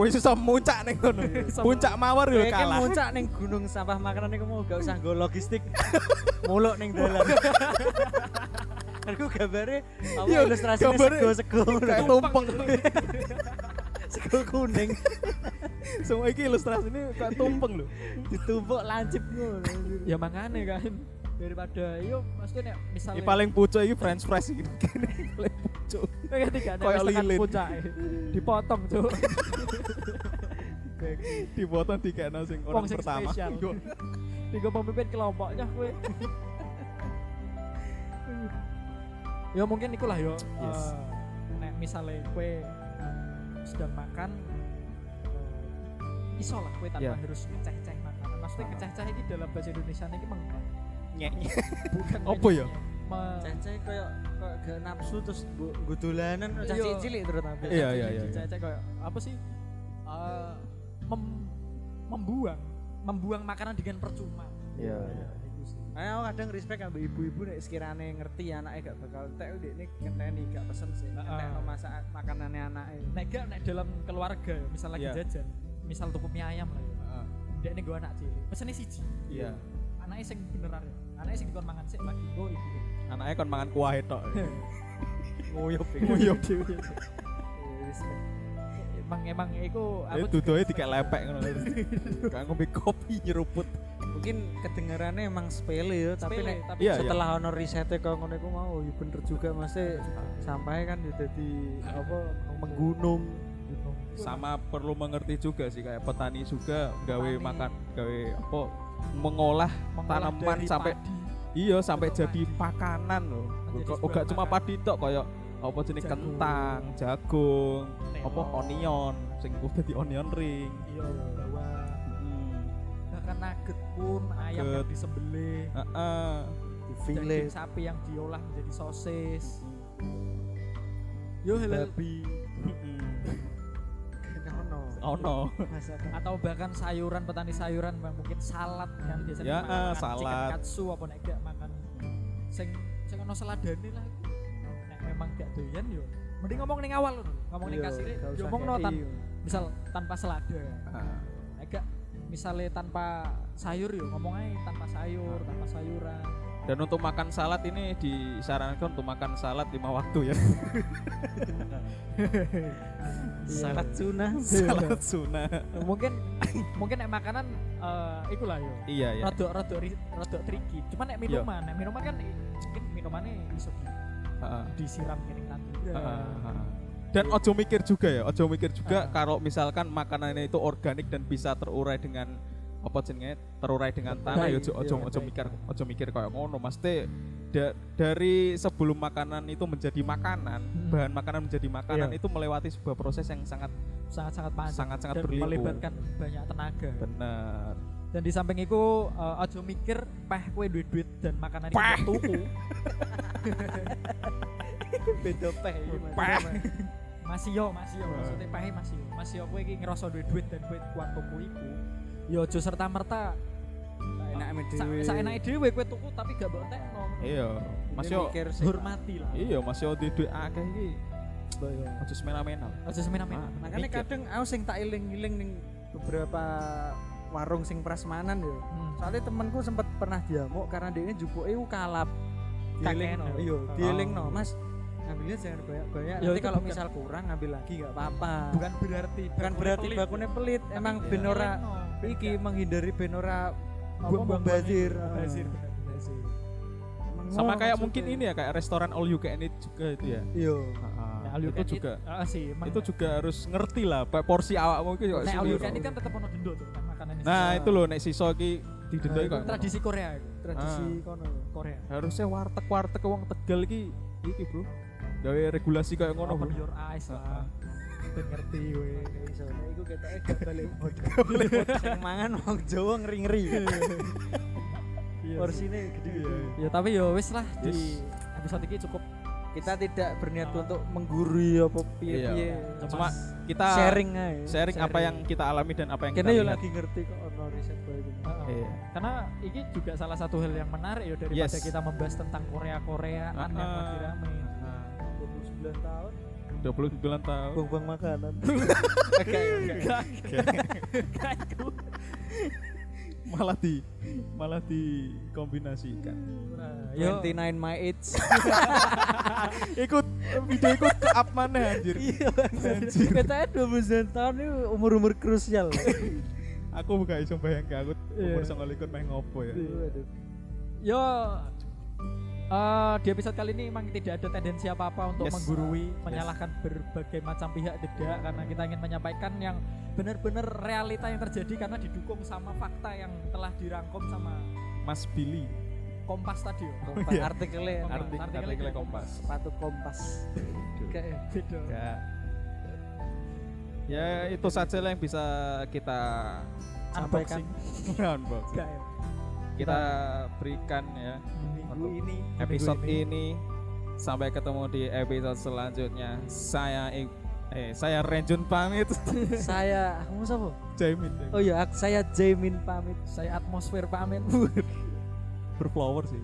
[SPEAKER 2] Wis susah muncak ning kono. Puncak mawar yo
[SPEAKER 3] Kayak kan
[SPEAKER 2] kalah.
[SPEAKER 3] muncak neng gunung sampah makanan iku mau gak usah nggo logistik. Muluk neng dalan. Aku gambarnya apa
[SPEAKER 2] Iya,
[SPEAKER 3] ilustrasinya
[SPEAKER 2] gambarnya
[SPEAKER 3] sego-sego
[SPEAKER 2] Kayak tumpeng.
[SPEAKER 3] sego kuning
[SPEAKER 2] Semua iki ilustrasinya kayak tumpeng lho.
[SPEAKER 3] ditumpuk lancip ngono.
[SPEAKER 1] Ya makanya kan daripada yo maksudnya nek
[SPEAKER 2] Ini
[SPEAKER 1] misalnya
[SPEAKER 2] paling pucuk iki french fries iki. Ini paling pucuk.
[SPEAKER 1] Kayak tiga nek
[SPEAKER 2] Kayak
[SPEAKER 1] wis tekan
[SPEAKER 2] lilin.
[SPEAKER 1] puncak dipotong tuh.
[SPEAKER 2] Dipotong dikekno sing
[SPEAKER 1] Wong
[SPEAKER 2] orang
[SPEAKER 1] sing
[SPEAKER 2] pertama.
[SPEAKER 1] spesial. Tiga pemimpin kelompoknya kowe. ya mungkin ikulah yo.
[SPEAKER 2] Yes.
[SPEAKER 1] Eh, nek misalnya kowe eh, sedang makan eh, iso lah kowe tanpa
[SPEAKER 2] Ya.
[SPEAKER 1] harus ngeceh-ceh makanan. Maksudnya
[SPEAKER 2] Ah.
[SPEAKER 1] ngeceh-ceh ini dalam bahasa Indonesia ini meng
[SPEAKER 2] Nyek-nyek.
[SPEAKER 1] bukan
[SPEAKER 2] Apa ya?
[SPEAKER 1] me-
[SPEAKER 3] Cece koyo koyo gak nafsu terus bu- nggo dolanan cah
[SPEAKER 1] Iya.
[SPEAKER 3] cilik terus tapi.
[SPEAKER 2] Iya iya iya. iya.
[SPEAKER 1] Diceceh kayak apa sih? Eh, mem- membuang membuang makanan dengan percuma.
[SPEAKER 2] Iya iya.
[SPEAKER 1] Itu sih.
[SPEAKER 3] Nah, aku kadang respect ambek ibu-ibu nek sekirane ngerti anaknya gak bakal entek ndekne ngenteni gak pesen sih.
[SPEAKER 1] Heeh.
[SPEAKER 3] Entekno masakan makanane anake.
[SPEAKER 1] nek gak nek dalam keluarga ya, misal lagi
[SPEAKER 2] Iya.
[SPEAKER 1] jajan misal tuku mie ayam lah ya
[SPEAKER 2] Heeh.
[SPEAKER 1] dek ini gue anak cilik pesennya siji
[SPEAKER 2] Iya.
[SPEAKER 1] anaknya sing beneran ya anaknya sing dikon mangan sik bagi gue ibu
[SPEAKER 2] Anaknya kon mangan kuah etok.
[SPEAKER 3] Nguyup
[SPEAKER 2] Nguyup.
[SPEAKER 3] Respect.
[SPEAKER 1] emang emang iku
[SPEAKER 2] Eh
[SPEAKER 1] aku
[SPEAKER 2] dudoe dikek lepek ngono. Kayak ngombe kopi nyeruput.
[SPEAKER 3] Mungkin kedengarannya emang sepele ya, tapi
[SPEAKER 1] sepele,
[SPEAKER 3] nek
[SPEAKER 1] tapi
[SPEAKER 2] Iya,
[SPEAKER 3] setelah ono risetnya kau ngono iku mau ya bener juga mesti sampahnya kan ya dadi apa menggunung
[SPEAKER 1] gunung.
[SPEAKER 2] sama perlu mengerti juga sih kayak petani juga gawe
[SPEAKER 1] Petani.
[SPEAKER 2] makan gawe apa mengolah
[SPEAKER 1] Mengolah
[SPEAKER 2] tanaman
[SPEAKER 1] dari
[SPEAKER 2] sampai
[SPEAKER 1] padi.
[SPEAKER 2] iya sampai
[SPEAKER 1] Untuk
[SPEAKER 2] jadi pakanan loh
[SPEAKER 1] Menjadi
[SPEAKER 2] Kok-
[SPEAKER 1] sebuah
[SPEAKER 2] gak cuma
[SPEAKER 1] makanan.
[SPEAKER 2] padi tok kayak apa jenis
[SPEAKER 1] Jagung.
[SPEAKER 2] kentang jagung apa
[SPEAKER 1] Melon.
[SPEAKER 2] onion sing udah di onion ring
[SPEAKER 1] Iya, bawang.
[SPEAKER 2] Hmm.
[SPEAKER 1] Bahkan nugget pun ayam yang
[SPEAKER 2] Nugget.
[SPEAKER 1] disembelih,
[SPEAKER 2] Heeh.
[SPEAKER 4] di
[SPEAKER 1] daging
[SPEAKER 4] Finland
[SPEAKER 1] sapi yang diolah menjadi sosis. Yo halal
[SPEAKER 4] babi ono
[SPEAKER 2] oh no
[SPEAKER 4] masakan
[SPEAKER 1] atau bahkan sayuran petani sayuran Bang. mungkin salad kan biasanya
[SPEAKER 2] Ya,
[SPEAKER 1] makan
[SPEAKER 2] eh,
[SPEAKER 1] chicken
[SPEAKER 2] salad.
[SPEAKER 1] katsu apa nek gak makan sing sing ono seladane lah iku. nek memang gak doyan yo mending ngomong ning awal lho ngomong
[SPEAKER 2] Iya,
[SPEAKER 1] ning kasire yo ngomong no tan- misal tanpa selada
[SPEAKER 2] Ah,
[SPEAKER 1] nek gak misalnya tanpa sayur yo ngomong aja tanpa sayur tanpa sayuran
[SPEAKER 2] dan untuk makan salad ini disarankan untuk makan salad lima waktu ya
[SPEAKER 4] salad tuna
[SPEAKER 2] salad sunnah
[SPEAKER 1] mungkin mungkin nek makanan eh iku lah yo
[SPEAKER 2] iya ya
[SPEAKER 1] rodok rodok ri- rodok tricky cuman nek minuman nek minuman kan i- mungkin minumannya iso di-
[SPEAKER 2] Heeh.
[SPEAKER 1] disiram kering tanduran
[SPEAKER 2] Heeh. Dan ojo mikir juga ya, ojo mikir juga
[SPEAKER 1] Heeh.
[SPEAKER 2] kalau misalkan makanannya itu organik dan bisa terurai dengan apa jenenge terurai dengan tanah ya
[SPEAKER 1] Baik,
[SPEAKER 2] ojo ojo
[SPEAKER 1] iya,
[SPEAKER 2] ojo
[SPEAKER 1] baik.
[SPEAKER 2] mikir ojo mikir kayak ngono mesti da- dari sebelum makanan itu menjadi makanan
[SPEAKER 1] Hmm. Iya.
[SPEAKER 2] bahan makanan menjadi makanan itu melewati sebuah proses yang sangat
[SPEAKER 1] sangat-sangat panjang
[SPEAKER 2] Sangat-sangat
[SPEAKER 1] dan
[SPEAKER 2] berliku.
[SPEAKER 1] melibatkan banyak tenaga
[SPEAKER 2] benar
[SPEAKER 1] dan di samping itu eh, ojo mikir peh kue duit duit dan makanan itu
[SPEAKER 2] Peh.
[SPEAKER 1] tuku
[SPEAKER 4] beda peh iki, Mas.
[SPEAKER 2] Peh.
[SPEAKER 1] masih yo masih yo maksudnya peh masih yo masih yo kue iki ngerasa duit duit dan kue kuat tuku iku yo ojo serta merta
[SPEAKER 4] Saenake dhewe.
[SPEAKER 1] sa enaknya dewe kue tuku tapi gak bawa tekno
[SPEAKER 2] iya mas
[SPEAKER 4] Ini
[SPEAKER 2] yo
[SPEAKER 4] mikir sih,
[SPEAKER 1] hormati lah
[SPEAKER 2] iya mas yo di duit akeh iki
[SPEAKER 4] Mbak.
[SPEAKER 2] ojo semena-mena
[SPEAKER 1] ojo semena-mena
[SPEAKER 2] Ah.
[SPEAKER 4] makanya
[SPEAKER 2] Mikir.
[SPEAKER 4] kadang aku sing tak iling-iling ning beberapa warung sing prasmanan yo
[SPEAKER 1] Hmm.
[SPEAKER 4] soalnya temenku sempat pernah diamuk karena dia jupuk itu kalap
[SPEAKER 1] Dielingno.
[SPEAKER 4] iya
[SPEAKER 1] Oh.
[SPEAKER 4] dielingno mas ngambilnya jangan
[SPEAKER 1] Ya,
[SPEAKER 4] banyak-banyak nanti
[SPEAKER 1] itu
[SPEAKER 4] kalau
[SPEAKER 1] bukan-
[SPEAKER 4] misal kurang ngambil lagi nggak apa-apa
[SPEAKER 1] bukan berarti
[SPEAKER 4] bukan berarti
[SPEAKER 1] pelit.
[SPEAKER 4] bakunya pelit emang
[SPEAKER 1] Tapi ya,
[SPEAKER 4] benora
[SPEAKER 1] elingno.
[SPEAKER 4] iki menghindari benora
[SPEAKER 1] Apa,
[SPEAKER 4] buang-buang Ah.
[SPEAKER 1] buang-buang
[SPEAKER 4] bazir
[SPEAKER 1] bazir, bener, bazir. Nah,
[SPEAKER 4] Mengono
[SPEAKER 1] Oh,
[SPEAKER 2] sama kayak
[SPEAKER 4] maksudnya.
[SPEAKER 2] mungkin ini ya kayak restoran all you can eat juga itu ya
[SPEAKER 4] iya
[SPEAKER 2] Heeh.
[SPEAKER 1] Nah, all you
[SPEAKER 2] itu
[SPEAKER 1] can eat,
[SPEAKER 2] juga
[SPEAKER 1] ah, sih, emang
[SPEAKER 2] itu juga harus ngerti lah pak porsi awakmu itu
[SPEAKER 1] Nek all you can eat
[SPEAKER 2] kan
[SPEAKER 1] kan tetap ono dendok tuh kan makanan ini.
[SPEAKER 2] nah itu loh nek siso iki didendoi
[SPEAKER 4] Nah,
[SPEAKER 2] kok
[SPEAKER 4] itu
[SPEAKER 1] tradisi Korea itu.
[SPEAKER 4] tradisi gitu kono
[SPEAKER 1] Korea.
[SPEAKER 2] harusnya warteg warteg wong tegal iki iki bro gawe regulasi kayak ngono
[SPEAKER 1] Open
[SPEAKER 2] bro
[SPEAKER 1] your eyes lah. Ben ngerti we.
[SPEAKER 4] Kayak iso, nah, iku ketoknya gak balik modal. Sing mangan wong Jawa ngeri-ngeri.
[SPEAKER 1] Iya,
[SPEAKER 4] Porsine gede-gede.
[SPEAKER 1] Ya tapi ya wis lah di
[SPEAKER 2] Iya Yes.
[SPEAKER 1] episode ini cukup
[SPEAKER 4] Kita tidak berniat untuk menggurui apa piye-piye.
[SPEAKER 2] Iya. cuma kita
[SPEAKER 4] sharing aja.
[SPEAKER 2] sharing apa yang kita alami dan apa yang kita
[SPEAKER 4] Kene yo
[SPEAKER 2] lihat.
[SPEAKER 4] lagi ngerti kok ono riset koyo gini.
[SPEAKER 1] Heeh.
[SPEAKER 2] Iya.
[SPEAKER 1] Karena ini juga salah satu hal yang menarik ya daripada
[SPEAKER 2] Yes.
[SPEAKER 1] kita membahas tentang Korea-Koreaan yang
[SPEAKER 2] Ah,
[SPEAKER 1] lagi rame.
[SPEAKER 2] Nah,
[SPEAKER 4] 29 tahun
[SPEAKER 2] 29 tahun
[SPEAKER 4] buang-buang makanan.
[SPEAKER 2] malah di malah dikombinasikan
[SPEAKER 1] Nah, yo,
[SPEAKER 4] 29 my age.
[SPEAKER 2] ikut video ikut ke up mana anjir
[SPEAKER 4] Iya. Katanya 29 tahun itu umur-umur krusial.
[SPEAKER 2] aku gak iso bayangke aku umur
[SPEAKER 1] Iya.
[SPEAKER 2] 29 main ngopo ya
[SPEAKER 4] Waduh.
[SPEAKER 1] yo eh, di episode kali ini memang tidak ada tendensi apa-apa untuk
[SPEAKER 2] Yes.
[SPEAKER 1] menggurui, menyalahkan berbagai macam pihak tidak karena kita ingin menyampaikan yang benar-benar realita yang terjadi karena didukung sama fakta yang telah dirangkum sama
[SPEAKER 2] Mas Billy
[SPEAKER 1] Kompas tadi. yo.
[SPEAKER 4] Kompas
[SPEAKER 2] Iya.
[SPEAKER 4] artikelnya
[SPEAKER 1] Kompas.
[SPEAKER 2] artik
[SPEAKER 1] Artikelnya
[SPEAKER 2] artikelnya
[SPEAKER 1] kayak
[SPEAKER 2] kompas
[SPEAKER 4] sepatu kompas. Kayak
[SPEAKER 1] Beda.
[SPEAKER 2] ya ya itu saja lah yang bisa kita
[SPEAKER 4] sampaikan
[SPEAKER 1] Unboxing.
[SPEAKER 2] unbox
[SPEAKER 1] Gak ya?
[SPEAKER 2] kita berikan ya
[SPEAKER 4] minggu ini
[SPEAKER 2] episode ini sampai ketemu di episode selanjutnya saya Ik- eh saya Renjun pamit
[SPEAKER 4] saya kamu siapa?
[SPEAKER 2] Jamin
[SPEAKER 4] Oh iya, ak- saya Jamin pamit.
[SPEAKER 1] Saya atmosfer pamit.
[SPEAKER 2] berflower sih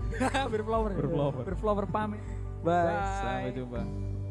[SPEAKER 1] berflower. ya?
[SPEAKER 2] Berflower.
[SPEAKER 1] Berflower pamit.
[SPEAKER 4] Bye.
[SPEAKER 2] sampai jumpa